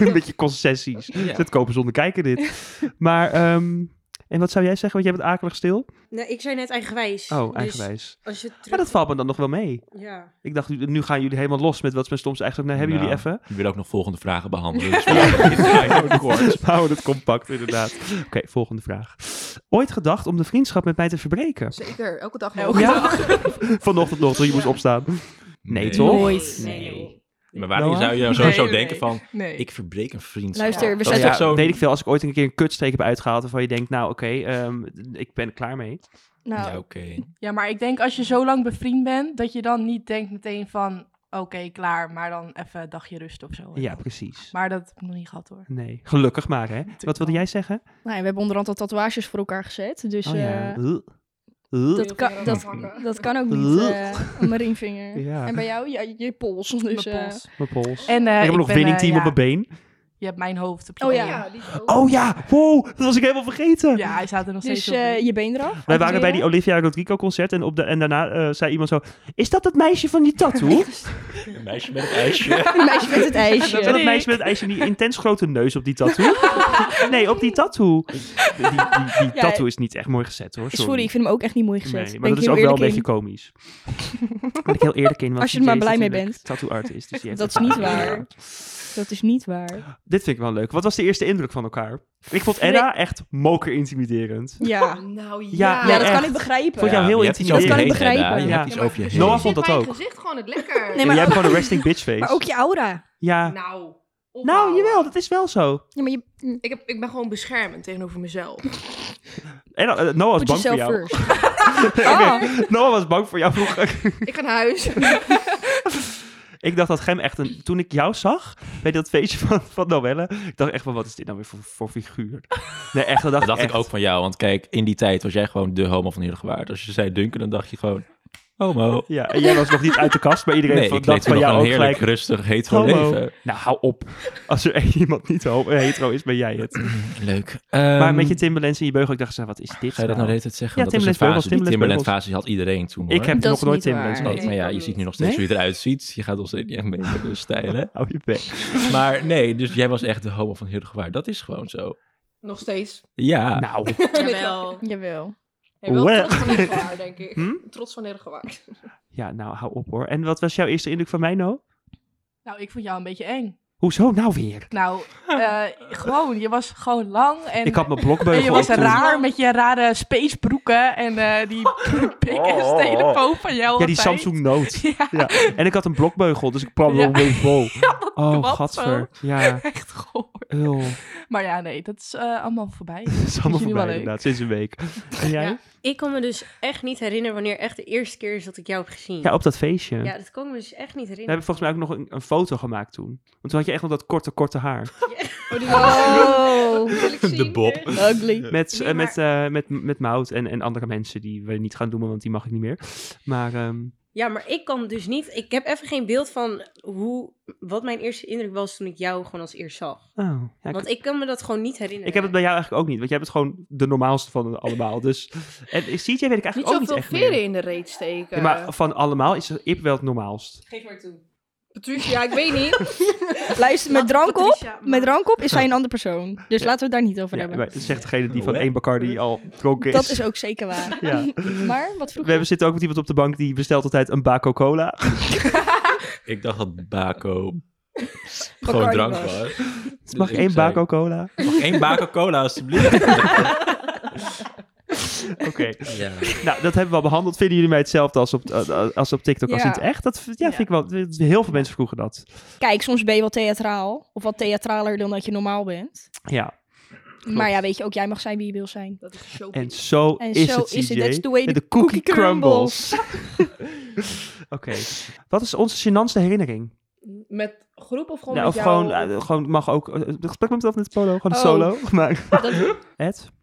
Speaker 2: een beetje concessies.
Speaker 3: ja.
Speaker 2: Het kopen zonder kijken dit. Maar ehm, En wat zou jij zeggen? Want jij bent akelig stil.
Speaker 4: Nee, ik zei net eigenwijs.
Speaker 2: Oh,
Speaker 4: Dus
Speaker 2: eigenwijs.
Speaker 4: als je terug...
Speaker 2: Maar dat valt me dan nog wel mee.
Speaker 4: Ja.
Speaker 2: Ik dacht, nu- nu gaan jullie helemaal los met wat mijn stomste eigenschap. Nou, hebben
Speaker 3: Nou.
Speaker 2: jullie even?
Speaker 3: Ik wil ook nog volgende vragen behandelen. Dus we houden dit vrij kort.
Speaker 2: We houden het Nou, compact, inderdaad. Oké, volgende vraag. Ooit gedacht om de vriendschap met mij te verbreken?
Speaker 6: Zeker, elke dag.
Speaker 8: Elke
Speaker 6: ja.
Speaker 2: Vanochtend nog, toen je moest opstaan. Nee, toch?
Speaker 8: Nooit.
Speaker 3: Nee.
Speaker 4: joh.
Speaker 3: Maar waarom
Speaker 2: Noah?
Speaker 3: zou je sowieso
Speaker 5: Nee, nee.
Speaker 3: denken van,
Speaker 5: Nee.
Speaker 3: ik verbreek een vriendschap? Oh,
Speaker 8: Luister, we
Speaker 3: Dat is
Speaker 8: zijn
Speaker 2: ja,
Speaker 3: toch zo'n-
Speaker 2: Weet ik veel, als ik ooit een keer een kutsteek heb uitgehaald... waarvan je denkt, nou oké, ehm, ik ben er klaar mee.
Speaker 1: Nou,
Speaker 3: Ja, oké.
Speaker 5: Ja, maar ik denk als je zo lang bevriend bent, dat je dan niet denkt meteen van, oké, klaar, maar dan even een dagje rust of zo.
Speaker 2: Ja, precies.
Speaker 5: Maar dat heb ik nog niet gehad hoor.
Speaker 2: Nee, gelukkig maar, hè? Wat wilde
Speaker 5: wel.
Speaker 2: jij zeggen?
Speaker 8: Nou, ja, we hebben onderhand al tatoeages voor elkaar gezet. Dus
Speaker 2: oh ja.
Speaker 8: eh,
Speaker 2: Ugh. Ugh.
Speaker 8: dat, kan, dat, dat kan ook niet. eh, aan mijn ringvinger.
Speaker 2: Ja,
Speaker 8: En bij jou? Ja, je pols. Dus,
Speaker 5: Mijn
Speaker 8: eh,
Speaker 5: pols.
Speaker 2: mijn pols.
Speaker 5: En, eh,
Speaker 2: ik heb nog
Speaker 5: ben,
Speaker 2: winning
Speaker 5: eh,
Speaker 2: team
Speaker 5: ja,
Speaker 2: op mijn been.
Speaker 5: Je hebt mijn hoofd op je
Speaker 8: Oh
Speaker 5: been.
Speaker 8: ja.
Speaker 6: die is ook.
Speaker 2: Oh ja, wow, dat was ik helemaal vergeten.
Speaker 5: Ja, hij staat er nog steeds
Speaker 8: dus
Speaker 5: op.
Speaker 8: eh, je been eraf.
Speaker 2: Wij
Speaker 8: Af en
Speaker 2: waren bij die
Speaker 8: toe.
Speaker 2: Olivia Rodrigo concert en, op de, en daarna eh, zei iemand zo... Is dat dat meisje van die tattoo?
Speaker 3: Een meisje met een ijsje.
Speaker 8: Een meisje met het
Speaker 2: dat, dat
Speaker 8: ijsje.
Speaker 2: meisje met het ijsje die intens grote neus op die tattoo? nee, op die tattoo. Die, die, die
Speaker 8: Ja,
Speaker 2: tattoo is niet echt mooi gezet hoor. Sorry,
Speaker 8: Sorry, ik vind hem ook echt niet mooi gezet.
Speaker 2: Nee,
Speaker 8: Ben
Speaker 2: maar
Speaker 8: ik
Speaker 2: dat is
Speaker 8: heel
Speaker 2: ook wel een
Speaker 8: eerlijk
Speaker 2: beetje
Speaker 8: in.
Speaker 2: komisch. Ben ik heel eerlijk in. want
Speaker 8: Als je er maar
Speaker 2: DJ is
Speaker 8: blij mee
Speaker 2: natuurlijk
Speaker 8: bent.
Speaker 2: Tattoo artist. Dus die heeft
Speaker 8: Dat is
Speaker 2: het-
Speaker 8: niet waar. Dat is niet waar.
Speaker 2: Dit vind ik wel leuk. Wat was de eerste indruk van elkaar? Ik vond Edda echt moker intimiderend.
Speaker 8: Ja,
Speaker 6: Nou ja.
Speaker 2: Ja,
Speaker 8: ja dat kan
Speaker 2: echt.
Speaker 8: ik begrijpen.
Speaker 2: Vond jou heel
Speaker 3: je hebt iets over
Speaker 2: intimiderend.
Speaker 3: je heen
Speaker 8: Dat kan ik
Speaker 3: gedaan.
Speaker 8: begrijpen.
Speaker 3: Je hebt
Speaker 2: Ja.
Speaker 3: iets over je heen.
Speaker 2: Noah vond dat ook.
Speaker 6: mijn gezicht gewoon het lekker.
Speaker 8: Nee, maar-
Speaker 2: En jij hebt gewoon een resting bitch face.
Speaker 8: Maar ook je aura.
Speaker 2: Ja.
Speaker 6: Nou, opbouwen.
Speaker 2: Nou, jawel, dat is wel zo.
Speaker 8: Ja, maar je
Speaker 6: Ik, heb, ik ben gewoon beschermend tegenover mezelf.
Speaker 2: En eh, Noah was
Speaker 8: put
Speaker 2: bang
Speaker 8: yourself
Speaker 2: voor jou.
Speaker 8: first. Oh.
Speaker 2: Noah was bang voor jou vroeger.
Speaker 6: ik ga naar huis.
Speaker 2: ik dacht dat Gem echt een... Toen ik jou zag bij dat feestje van, van Noelle, ik dacht echt van, wat is dit nou weer voor, voor figuur? Nee, echt, dat dacht,
Speaker 3: Dat dacht
Speaker 2: echt.
Speaker 3: ik ook van jou, want kijk, in die tijd was jij gewoon de homo van Heerdegewaard. Als je zei Duncan, dan dacht je gewoon, homo.
Speaker 2: Ja, en jij was nog niet uit de kast, maar iedereen
Speaker 3: Nee,
Speaker 2: van,
Speaker 3: ik leed
Speaker 2: dacht
Speaker 3: toen
Speaker 2: van
Speaker 3: nog
Speaker 2: jou ook
Speaker 3: een heerlijk,
Speaker 2: gelijk...
Speaker 3: rustig, hetero
Speaker 2: homo.
Speaker 3: leven.
Speaker 2: Nou, hou op. Als er één iemand niet homo- hetero is, ben jij het.
Speaker 3: Leuk.
Speaker 2: maar
Speaker 3: Ehm,
Speaker 2: met je Timberlands en je beugel, ik dacht, nou, wat is dit
Speaker 3: Ga je dat nou
Speaker 2: nou?
Speaker 3: de hele tijd zeggen?
Speaker 2: Ja,
Speaker 3: dat is een
Speaker 2: Timberland beugels,
Speaker 3: fase. Die
Speaker 2: Timberland
Speaker 3: Timberland fase had iedereen toen,
Speaker 2: Ik
Speaker 3: hoor.
Speaker 2: heb
Speaker 8: Dat
Speaker 2: nog
Speaker 8: is
Speaker 2: nooit
Speaker 8: niet
Speaker 2: Timberlands
Speaker 8: waar.
Speaker 2: gehad.
Speaker 3: Nee, maar ja, je ziet nu nog steeds hoe je eruit ziet. Je gaat ons steeds niet echt mee met de stijlen.
Speaker 2: Hou je bek.
Speaker 3: Maar nee, dus jij was echt de homo van Heerdegewaard. Dat is gewoon zo.
Speaker 6: Nog steeds.
Speaker 3: Ja.
Speaker 2: Nou,
Speaker 4: Jawel.
Speaker 8: Jawel.
Speaker 6: Ik ben wel
Speaker 2: Well.
Speaker 6: trots van Herengewaard, denk ik.
Speaker 2: Hm?
Speaker 6: Trots van Herengewaard.
Speaker 2: ja, nou, hou op hoor. En wat was jouw eerste indruk van mij nou?
Speaker 5: Nou, ik vond jou een beetje eng.
Speaker 2: Hoezo nou weer?
Speaker 5: Nou, eh, gewoon, je was gewoon lang en,
Speaker 2: ik had mijn
Speaker 5: en
Speaker 2: blokbeugel
Speaker 5: je was
Speaker 2: ook toen.
Speaker 5: raar met je rare spacebroeken en eh, die
Speaker 8: Oh.
Speaker 5: pik en telefoon van jou
Speaker 2: Ja, die
Speaker 5: altijd.
Speaker 2: Samsung Note.
Speaker 5: Ja,
Speaker 2: Ja. En ik had een blokbeugel, dus ik kwam
Speaker 5: Ja.
Speaker 2: wel weer vol. Oh,
Speaker 5: kwam
Speaker 2: gadver. Ja,
Speaker 5: echt goor.
Speaker 2: eul.
Speaker 5: Maar ja, nee, dat is eh, allemaal voorbij.
Speaker 2: Het is allemaal
Speaker 5: Vind je nu wel
Speaker 2: voorbij
Speaker 5: leuk?
Speaker 2: inderdaad, sinds een week. En jij? Ja,
Speaker 6: Ja.
Speaker 4: Ik kan me dus echt niet herinneren wanneer echt de eerste keer is dat ik jou heb gezien.
Speaker 2: op dat feestje.
Speaker 4: Ja, dat kan ik me dus echt niet
Speaker 2: We
Speaker 4: herinneren.
Speaker 2: hebben volgens mij ook nog een, een foto gemaakt toen. Want toen had je echt nog dat korte, korte haar.
Speaker 6: Oh, die
Speaker 8: Oh,
Speaker 3: De Bob.
Speaker 4: eh.
Speaker 8: ugly.
Speaker 2: Met,
Speaker 6: Nee,
Speaker 2: eh, met, eh, met, met Mout en, en andere mensen die we niet gaan noemen, want die mag ik niet meer. Maar ehm,
Speaker 4: Ja, maar ik kan dus niet... Ik heb even geen beeld van hoe, wat mijn eerste indruk was toen ik jou gewoon als eerst zag.
Speaker 2: oh, ja, ik,
Speaker 4: Want ik kan me dat gewoon niet herinneren.
Speaker 2: ik heb het bij jou eigenlijk ook niet. Want jij bent gewoon de normaalste van de allemaal. Dus en CJ weet ik eigenlijk
Speaker 6: Niet
Speaker 2: ook niet
Speaker 6: zoveel eh.
Speaker 2: echt
Speaker 6: veren
Speaker 2: meer.
Speaker 6: in de reet steken.
Speaker 2: Ja, maar van allemaal is Ip wel het normaalst.
Speaker 6: Geef maar toe. Patricia, ja, ik weet niet.
Speaker 8: Luister, met drank op,
Speaker 6: Patricia, maar-
Speaker 8: met drank op is hij een ander persoon. Dus
Speaker 2: Ja.
Speaker 8: laten we het daar niet over
Speaker 2: Ja,
Speaker 8: hebben.
Speaker 2: maar zegt degene die van
Speaker 3: Oh, hè?
Speaker 2: één Bacardi al dronken
Speaker 8: Dat is ook zeker waar.
Speaker 2: Ja.
Speaker 8: Maar, wat vroeg
Speaker 2: We hebben zitten ook met iemand op de bank die bestelt altijd een Baco Cola.
Speaker 3: Ik dacht dat Baco gewoon
Speaker 8: Bacardi
Speaker 3: drank
Speaker 8: was.
Speaker 3: was. Dus
Speaker 2: Mag
Speaker 3: ik
Speaker 2: één
Speaker 3: zei,
Speaker 2: Baco Cola?
Speaker 3: Mag één Baco Cola, alsjeblieft.
Speaker 2: Oké.
Speaker 3: Ja.
Speaker 2: Nou, dat hebben we al behandeld. Vinden jullie mij hetzelfde als op, eh, als op TikTok als
Speaker 8: Ja.
Speaker 2: in het echt? Dat, ja, vind ik wel. Heel veel mensen vroegen dat.
Speaker 8: Kijk, soms ben je wel theatraal. Of wat theatraler dan dat je normaal bent.
Speaker 2: Ja.
Speaker 8: Maar ja, weet je, ook jij mag zijn wie je wil zijn.
Speaker 6: Dat is show.
Speaker 2: En zo
Speaker 8: En
Speaker 2: is
Speaker 8: zo
Speaker 2: het,
Speaker 8: is het.
Speaker 2: CJ.
Speaker 8: That's the way
Speaker 2: En
Speaker 8: the
Speaker 2: de cookie,
Speaker 8: cookie
Speaker 2: crumbles. Oké. Wat is onze gênantste herinnering?
Speaker 6: Met groep of gewoon
Speaker 2: Nou,
Speaker 6: met
Speaker 2: of
Speaker 6: jou?
Speaker 2: gewoon, eh, gewoon mag ook... eh, Het gesprek met mezelf met polo.
Speaker 8: Oh.
Speaker 2: Gewoon solo. Maar, het?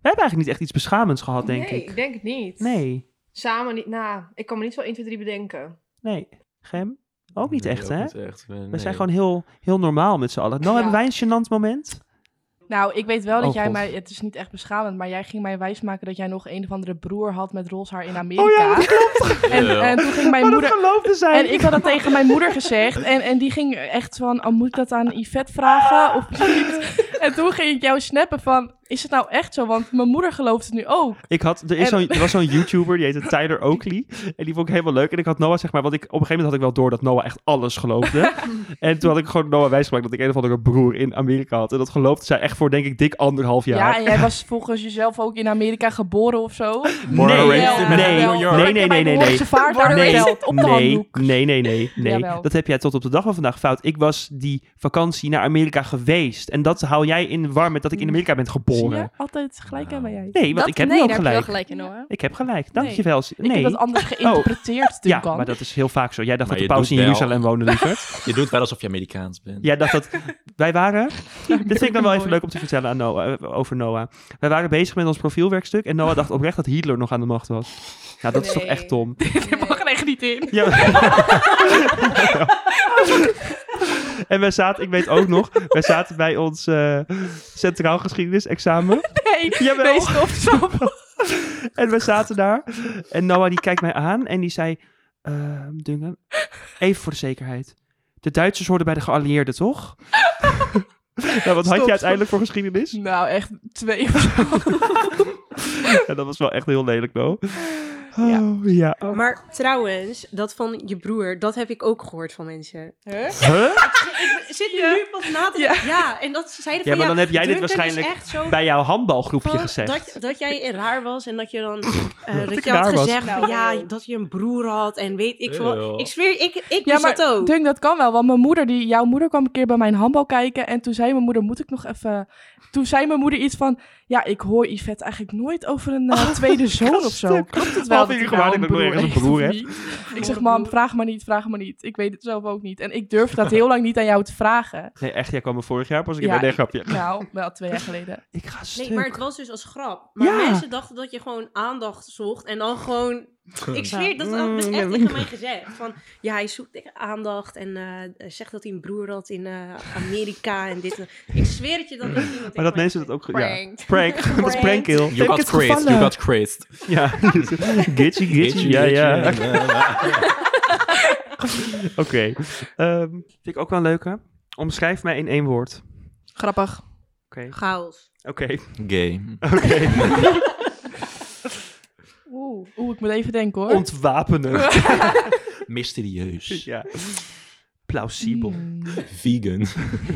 Speaker 2: We hebben eigenlijk niet echt iets beschamends gehad, denk
Speaker 6: nee,
Speaker 2: ik.
Speaker 6: ik denk het niet.
Speaker 2: Nee.
Speaker 6: Samen niet. Nou, ik kan me niet zo 1, 2, 3 bedenken.
Speaker 2: Nee. Gem? Ook niet
Speaker 3: Nee,
Speaker 2: echt,
Speaker 3: ook
Speaker 2: hè?
Speaker 3: niet echt. We-
Speaker 2: We
Speaker 3: nee.
Speaker 2: zijn gewoon heel, heel normaal met z'n allen. Nou,
Speaker 6: Ja.
Speaker 2: hebben wij een gênant moment?
Speaker 5: Nou, ik weet wel dat
Speaker 2: Oh,
Speaker 5: jij
Speaker 2: God.
Speaker 5: mij, het is niet echt beschamend, maar jij ging mij wijsmaken dat jij nog een of andere broer had met roze haar in Amerika.
Speaker 2: Oh dat
Speaker 5: En, en toen ging mijn
Speaker 2: Maar
Speaker 5: moeder,
Speaker 2: dat geloofde zij.
Speaker 5: En ik had dat tegen mijn moeder gezegd. En, en die ging echt van, oh, moet ik dat aan Yvette vragen of niet? En toen ging ik jou snappen van, Is het nou echt zo? Want mijn moeder gelooft het nu ook.
Speaker 2: Ik had, er, is
Speaker 5: En-
Speaker 2: zo'n, er was zo'n YouTuber, die heette Tyler Oakley. En die vond ik helemaal leuk. En ik had Noah, zeg maar, want ik, op een gegeven moment had ik wel door dat Noah echt alles geloofde. en toen had ik gewoon Noah wijsgemaakt dat ik een of andere broer in Amerika had. En dat geloofde zij echt voor, denk ik, dik anderhalf
Speaker 5: Ja,
Speaker 2: jaar.
Speaker 5: en jij was volgens jezelf ook in Amerika geboren of zo.
Speaker 2: Born and
Speaker 5: Jawel.
Speaker 2: raised in
Speaker 5: Jawel.
Speaker 2: New York.
Speaker 5: Maar
Speaker 2: Nee, nee, nee,
Speaker 5: ik heb mijn
Speaker 2: nee,
Speaker 5: Noorse
Speaker 2: nee.
Speaker 5: vaart daar verteld, op de
Speaker 2: nee,
Speaker 5: handdoek.
Speaker 2: nee, nee, nee, nee.
Speaker 5: Jawel.
Speaker 2: Dat heb jij tot op de dag van vandaag fout. Ik was die vakantie naar Amerika geweest. En dat haal jij in de war met dat ik in Amerika ben
Speaker 5: Zie je?
Speaker 2: geboren.
Speaker 5: Altijd gelijk hebben jij.
Speaker 2: Nou. Nee, want
Speaker 8: Dat-
Speaker 2: ik heb
Speaker 8: nee,
Speaker 2: nu ook
Speaker 8: daar heb je
Speaker 2: gelijk.
Speaker 8: wel gelijk in hoor.
Speaker 2: Ik heb gelijk, dankjewel.
Speaker 5: Ik
Speaker 2: nee. Oh.
Speaker 5: heb dat anders geïnterpreteerd,
Speaker 2: Ja,
Speaker 5: Duncan.
Speaker 2: maar dat is heel vaak zo. Jij dacht
Speaker 3: Maar
Speaker 2: dat de
Speaker 3: je
Speaker 2: paus in
Speaker 3: doet wel.
Speaker 2: Jeruzalem woonde, lieverd.
Speaker 3: Je doet wel alsof je Amerikaans bent.
Speaker 2: Jij dacht dat... Wij waren... Dit vind ik dan wel even
Speaker 5: Mooi.
Speaker 2: leuk om te vertellen aan Noah, eh, over Noah. Wij waren bezig met ons profielwerkstuk en Noah dacht oprecht dat Hitler nog aan de macht was. Nou, dat is toch
Speaker 6: Nee.
Speaker 2: echt dom.
Speaker 5: Dit mag er echt niet in.
Speaker 2: Ja. en wij zaten, ik weet ook nog, wij zaten bij ons eh, centraal geschiedenis examen.
Speaker 5: Nee,
Speaker 2: Jawel.
Speaker 5: nee, stop, stop.
Speaker 2: En we zaten daar. En Noah die kijkt mij aan en die zei... ehm Duncan, even voor de zekerheid. De Duitsers hoorden bij de geallieerden, toch? nou, wat had
Speaker 5: Stop,
Speaker 2: je uiteindelijk voor geschiedenis?
Speaker 5: Nou, echt twee of zo.
Speaker 2: Ja, dat was wel echt heel lelijk, no?
Speaker 5: Ja.
Speaker 2: Oh, ja.
Speaker 4: Maar trouwens, dat van je broer, dat heb ik ook gehoord van mensen.
Speaker 2: Huh?
Speaker 4: Ik zit nu nu pas na te
Speaker 5: Ja.
Speaker 4: ja. en dat ze zeiden
Speaker 2: Ja,
Speaker 4: van
Speaker 2: maar dan heb jij dit
Speaker 4: Duncan is
Speaker 2: waarschijnlijk
Speaker 4: echt zo
Speaker 2: Bij jouw handbalgroepje
Speaker 4: van
Speaker 2: gezegd.
Speaker 4: Dat, dat jij in raar was en dat je dan eh, dat,
Speaker 2: ik
Speaker 4: je had
Speaker 2: raar was.
Speaker 4: gezegd van,
Speaker 6: Nou.
Speaker 4: ja, dat je een broer had en weet ik veel.
Speaker 3: Eeuw.
Speaker 4: Ik zweer, ik, ik
Speaker 5: Ja,
Speaker 4: wist
Speaker 5: maar
Speaker 4: dat ook.
Speaker 5: Dunk, dat kan wel. Want mijn moeder, die, jouw moeder kwam een keer bij mijn handbal kijken. En toen zei mijn moeder, moet ik nog even... Toen zei mijn moeder iets van... Ja, ik hoor Yvette eigenlijk nooit over een eh, tweede zoon of zo.
Speaker 2: stuk.
Speaker 5: Klopt het
Speaker 2: Half
Speaker 5: wel dat
Speaker 2: uur
Speaker 5: ik
Speaker 2: gewaar
Speaker 5: nou een
Speaker 2: dat ik nog
Speaker 5: broer
Speaker 2: ergens een
Speaker 5: heeft of
Speaker 2: broer heb.
Speaker 5: niet? Ik zeg, mam, vraag maar niet, vraag maar niet. Ik weet het zelf ook niet. En ik durf dat heel lang niet aan jou te vragen.
Speaker 2: Nee, echt, jij kwam me vorig jaar pas een keer
Speaker 5: Ja,
Speaker 2: bij. Nee, grapje.
Speaker 5: Nou, wel twee jaar geleden.
Speaker 2: Ik ga stuk.
Speaker 4: Nee, maar het was dus als grap. Maar
Speaker 2: Ja.
Speaker 4: mensen dachten dat je gewoon aandacht zocht en dan gewoon... Ik zweer, dat had dus
Speaker 2: Mm.
Speaker 4: echt tegen mij gezegd. Van, ja, hij zoekt aandacht en eh, zegt dat hij een broer had in eh, Amerika en dit. en- Ik zweer het je dat echt iemand
Speaker 2: Maar
Speaker 4: tegen
Speaker 2: dat
Speaker 4: mij
Speaker 2: mensen dat ook... Ja.
Speaker 8: Pranked.
Speaker 2: Prank. Dat is
Speaker 8: Pranked.
Speaker 2: prankkill.
Speaker 3: You got crazed, you got crazed.
Speaker 2: Ja. Gitchy, gitchy. Ja, ja.
Speaker 3: Gitchy, ja.
Speaker 2: Oké. Ehm, vind ik ook wel een leuke. Omschrijf mij in één woord.
Speaker 5: Grappig.
Speaker 2: Oké.
Speaker 4: Chaos.
Speaker 2: Oké.
Speaker 3: Gay.
Speaker 5: Oeh, oeh, ik moet even denken hoor.
Speaker 2: Ontwapenen.
Speaker 3: Mysterieus.
Speaker 2: ja. Plausibel.
Speaker 5: Hmm.
Speaker 3: Vegan.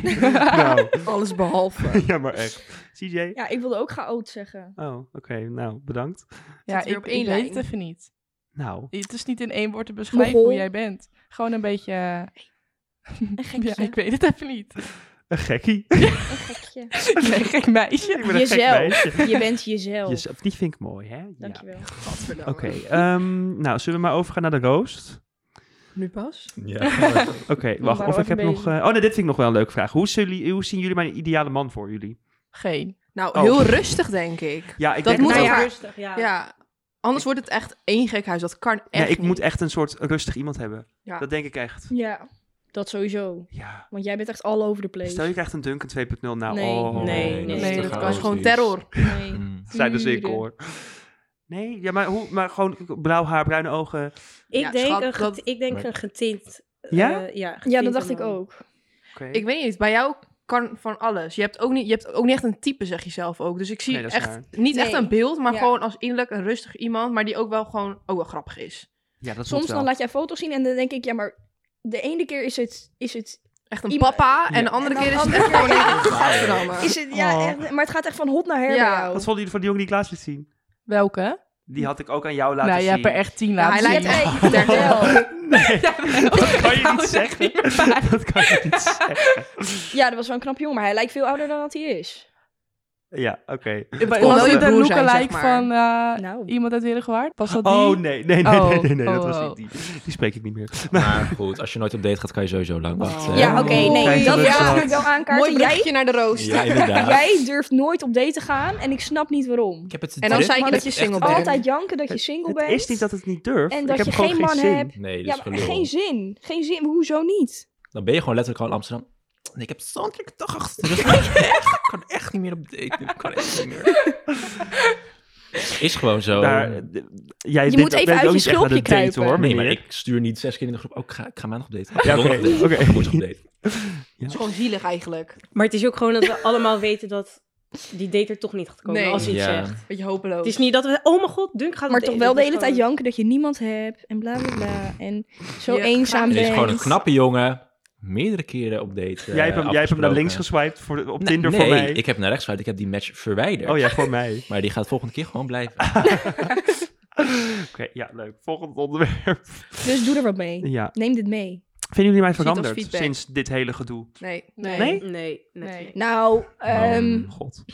Speaker 2: Nou,
Speaker 6: Alles behalve.
Speaker 2: ja, maar echt. CJ?
Speaker 8: Ja, ik wilde ook chaot zeggen.
Speaker 2: Oh, oké. Nou, bedankt.
Speaker 5: Ja,
Speaker 8: weer
Speaker 5: ik,
Speaker 8: op één
Speaker 5: ik weet
Speaker 8: lijn.
Speaker 5: het even niet.
Speaker 2: Nou,
Speaker 5: Het is niet in één woord te beschrijven
Speaker 8: Mogol.
Speaker 5: hoe jij bent. Gewoon een beetje...
Speaker 8: Een gekje.
Speaker 5: Ja, ik weet het even niet.
Speaker 2: een gekkie.
Speaker 8: Een gekje.
Speaker 5: Nee, gek meisje.
Speaker 2: Ik ben een gek
Speaker 8: Jezelf.
Speaker 2: meisje.
Speaker 8: Je bent
Speaker 1: Oh.
Speaker 8: jezelf.
Speaker 2: Jezelf. Die vind ik mooi, hè? Ja.
Speaker 8: Dankjewel.
Speaker 2: Oké. ehm, nou, zullen we maar overgaan naar de roost?
Speaker 6: Nu pas?
Speaker 3: Ja.
Speaker 2: Oké, wacht.
Speaker 5: waren
Speaker 2: Of
Speaker 5: we
Speaker 2: ik heb
Speaker 5: even
Speaker 2: nog... eh, oh nee, dit vind ik nog wel een leuke vraag. Hoe, zullen, hoe zien jullie mijn ideale man voor jullie?
Speaker 5: Geen.
Speaker 6: Nou,
Speaker 2: Oh.
Speaker 6: heel rustig denk ik.
Speaker 2: Ja, ik
Speaker 6: Dat
Speaker 2: denk
Speaker 6: moet
Speaker 2: het
Speaker 6: wel
Speaker 2: ook.
Speaker 6: ja.
Speaker 4: rustig, ja.
Speaker 6: Ja. Anders wordt het echt één gek huis. Dat kan echt
Speaker 2: Nee, ik
Speaker 6: niet.
Speaker 2: moet echt een soort rustig iemand hebben.
Speaker 6: Ja.
Speaker 2: Dat denk ik echt.
Speaker 8: Ja, dat sowieso.
Speaker 2: Ja.
Speaker 8: Want jij bent echt all over the place.
Speaker 2: Stel je krijgt een Duncan 2.0 nou.
Speaker 8: Nee,
Speaker 2: oh.
Speaker 4: nee,
Speaker 5: nee,
Speaker 3: te chaotisch.
Speaker 5: dat kan
Speaker 6: Dat is gewoon terror.
Speaker 8: Nee.
Speaker 3: Mm.
Speaker 2: Zijn dus ik
Speaker 8: Uren.
Speaker 2: hoor. Nee, ja, maar, hoe, maar gewoon blauw haar, bruine ogen.
Speaker 4: Ik,
Speaker 6: Ja,
Speaker 4: denk
Speaker 6: schat,
Speaker 4: een get-
Speaker 6: dat-
Speaker 4: ik denk een getint... eh,
Speaker 2: Ja?
Speaker 4: ja,
Speaker 8: Ja,
Speaker 4: getinte
Speaker 8: dat dacht ik
Speaker 4: man.
Speaker 8: ook.
Speaker 2: Oké.
Speaker 6: Ik weet niet, bij jou kan van alles. Je hebt ook niet, je hebt ook niet echt een type, zeg je zelf ook. Dus ik zie
Speaker 2: Nee, dat is
Speaker 6: echt,
Speaker 2: waar.
Speaker 6: niet echt
Speaker 8: Nee.
Speaker 6: een beeld, maar
Speaker 8: Ja.
Speaker 6: gewoon als innerlijk een rustig iemand, maar die ook wel gewoon ook wel grappig is.
Speaker 2: Ja, dat
Speaker 8: Soms
Speaker 2: moet wel.
Speaker 8: dan laat jij foto's zien en dan denk ik, ja, maar de ene keer is het, is het,
Speaker 6: Echt een
Speaker 8: Iemand-
Speaker 6: papa, en de andere
Speaker 8: En dan
Speaker 6: keer is
Speaker 8: andere
Speaker 6: het echt gewoon
Speaker 8: keer-
Speaker 6: een Gadverdamme.
Speaker 8: is het ja,
Speaker 2: Oh.
Speaker 8: echt, maar het gaat echt van hot naar her
Speaker 6: Ja.
Speaker 8: bij jou.
Speaker 2: Wat vonden jullie van die jongen die ik laatst liet zien?
Speaker 5: Welke?
Speaker 2: Die had ik ook aan jou laten
Speaker 5: nou, jij
Speaker 2: zien.
Speaker 5: hebt er echt tien
Speaker 6: Ja,
Speaker 5: laten
Speaker 6: hij
Speaker 5: zien.
Speaker 6: lijkt echt dertig.
Speaker 2: Nee, dat kan je niet zeggen. Dat kan je niet zeggen.
Speaker 8: Ja, dat was wel een knap jongen, maar hij lijkt veel ouder dan dat hij is.
Speaker 2: Ja, oké.
Speaker 5: Maar
Speaker 2: kon
Speaker 5: Was
Speaker 2: wel
Speaker 5: dit
Speaker 6: je
Speaker 5: een
Speaker 6: broer zijn,
Speaker 5: lookalike
Speaker 6: zeg maar.
Speaker 5: van eh,
Speaker 8: Nou.
Speaker 5: iemand uit Herengewaard? Was dat die?
Speaker 2: Oh, nee, nee, nee, nee, nee, nee, dat
Speaker 5: Oh,
Speaker 2: was
Speaker 5: oh.
Speaker 2: niet die. Die spreek ik niet meer.
Speaker 3: Maar goed, als je nooit op date gaat, kan je sowieso lang wachten. hè?
Speaker 8: Ja, oké, nee,
Speaker 2: oh, Kijk,
Speaker 8: dat
Speaker 2: dat
Speaker 8: wil
Speaker 2: is
Speaker 8: ik
Speaker 2: wat.
Speaker 8: natuurlijk wel aankaarten.
Speaker 6: Mooi
Speaker 8: Jij,
Speaker 6: bruggetje naar de roost.
Speaker 3: Ja, inderdaad.
Speaker 8: jij durft nooit op date te gaan en ik snap niet waarom.
Speaker 3: Ik heb het
Speaker 6: En dan
Speaker 3: druk,
Speaker 6: zei je
Speaker 3: maar
Speaker 6: dat
Speaker 3: het
Speaker 6: je
Speaker 3: is echt
Speaker 6: single
Speaker 3: een
Speaker 6: bent.
Speaker 8: Altijd janken dat je single
Speaker 2: Oh, Het
Speaker 8: bent.
Speaker 2: is niet dat het niet durf.
Speaker 8: En
Speaker 2: ik
Speaker 8: dat
Speaker 2: heb
Speaker 8: je
Speaker 2: gewoon
Speaker 8: geen
Speaker 2: geen
Speaker 8: man
Speaker 2: zin.
Speaker 8: hebt.
Speaker 3: Nee, dat
Speaker 8: Ja,
Speaker 3: is
Speaker 8: maar
Speaker 3: gelul.
Speaker 8: geen zin. Geen zin. Hoezo niet?
Speaker 3: Dan ben je gewoon letterlijk gewoon in Amsterdam. En ik heb zo'n drukke dag achter de rug. Ik kan echt niet meer op date. Ik kan echt niet meer. Is gewoon zo.
Speaker 2: Daar, jij
Speaker 8: Je
Speaker 2: bent-
Speaker 8: moet even
Speaker 2: bent
Speaker 8: uit
Speaker 2: ook
Speaker 8: je
Speaker 2: niet echt aan de
Speaker 8: schulpje
Speaker 2: date,
Speaker 8: kruipen.
Speaker 2: hoor,
Speaker 3: Oh. nee, maar
Speaker 2: meneer.
Speaker 3: ik stuur niet zes keer in de groep. Oh, ik ga, ik ga maandag op date.
Speaker 2: Ja, oké,
Speaker 3: Donderdag op date.
Speaker 2: oké.
Speaker 3: Woensdag op date.
Speaker 6: Het is gewoon zielig eigenlijk.
Speaker 4: Maar het is ook gewoon dat we allemaal weten dat Die date er toch niet gaat komen
Speaker 6: Nee.
Speaker 4: als je iets
Speaker 3: Ja.
Speaker 4: zegt.
Speaker 6: Beetje hopeloos.
Speaker 4: Het is niet dat we, oh mijn god, Dunk gaat
Speaker 1: Maar
Speaker 4: op
Speaker 1: toch
Speaker 4: date.
Speaker 1: wel de
Speaker 4: Dat is
Speaker 1: hele tijd
Speaker 4: gewoon-
Speaker 1: janken dat je niemand hebt en bla bla bla. En zo
Speaker 6: Ja,
Speaker 1: eenzaam
Speaker 3: Er
Speaker 1: bent.
Speaker 3: is gewoon een knappe jongen. Meerdere keren op date. eh,
Speaker 2: jij, hebt hem, jij hebt hem naar
Speaker 3: afgesproken.
Speaker 2: links geswiped voor, de- op
Speaker 3: Nee,
Speaker 2: Tinder
Speaker 3: nee,
Speaker 2: voor mij.
Speaker 3: ik heb naar rechts uit. Ik heb die match verwijderd.
Speaker 2: Oh ja, voor mij.
Speaker 3: Maar die gaat volgende keer gewoon blijven.
Speaker 2: Oké, ja, leuk. Volgend onderwerp.
Speaker 1: Dus doe er wat mee.
Speaker 2: Ja.
Speaker 1: Neem dit mee.
Speaker 2: Vinden jullie mij
Speaker 6: Zie het als
Speaker 2: veranderd
Speaker 6: feedback.
Speaker 2: sinds dit hele gedoe?
Speaker 6: Nee.
Speaker 4: Nee,
Speaker 2: Nee?
Speaker 4: nee, nee.
Speaker 6: Nee.
Speaker 1: Nou, ehm,
Speaker 3: Um,
Speaker 2: God.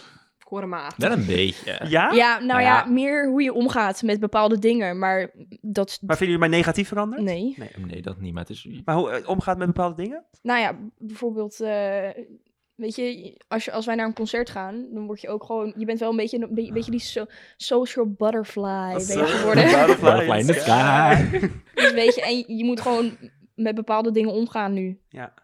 Speaker 6: Korma.
Speaker 3: Wel een beetje.
Speaker 2: Ja?
Speaker 1: ja, nou
Speaker 3: Nou
Speaker 1: ja,
Speaker 3: ja.
Speaker 1: meer hoe je omgaat met bepaalde dingen. Maar dat is...
Speaker 2: Maar vinden jullie mij negatief veranderd?
Speaker 1: Nee.
Speaker 3: Nee, dat niet. Maar het is...
Speaker 2: Maar hoe eh, omgaat met bepaalde dingen?
Speaker 1: Nou ja, bijvoorbeeld, eh, weet je als, je, als wij naar een concert gaan, dan word je ook gewoon, je bent wel een beetje, een be- beetje die so- social butterfly ben
Speaker 5: eh,
Speaker 1: je
Speaker 2: eh,
Speaker 1: geworden.
Speaker 3: Butterfly in the sky.
Speaker 1: Dus weet je, en je, je moet gewoon met bepaalde dingen omgaan nu.
Speaker 2: Ja.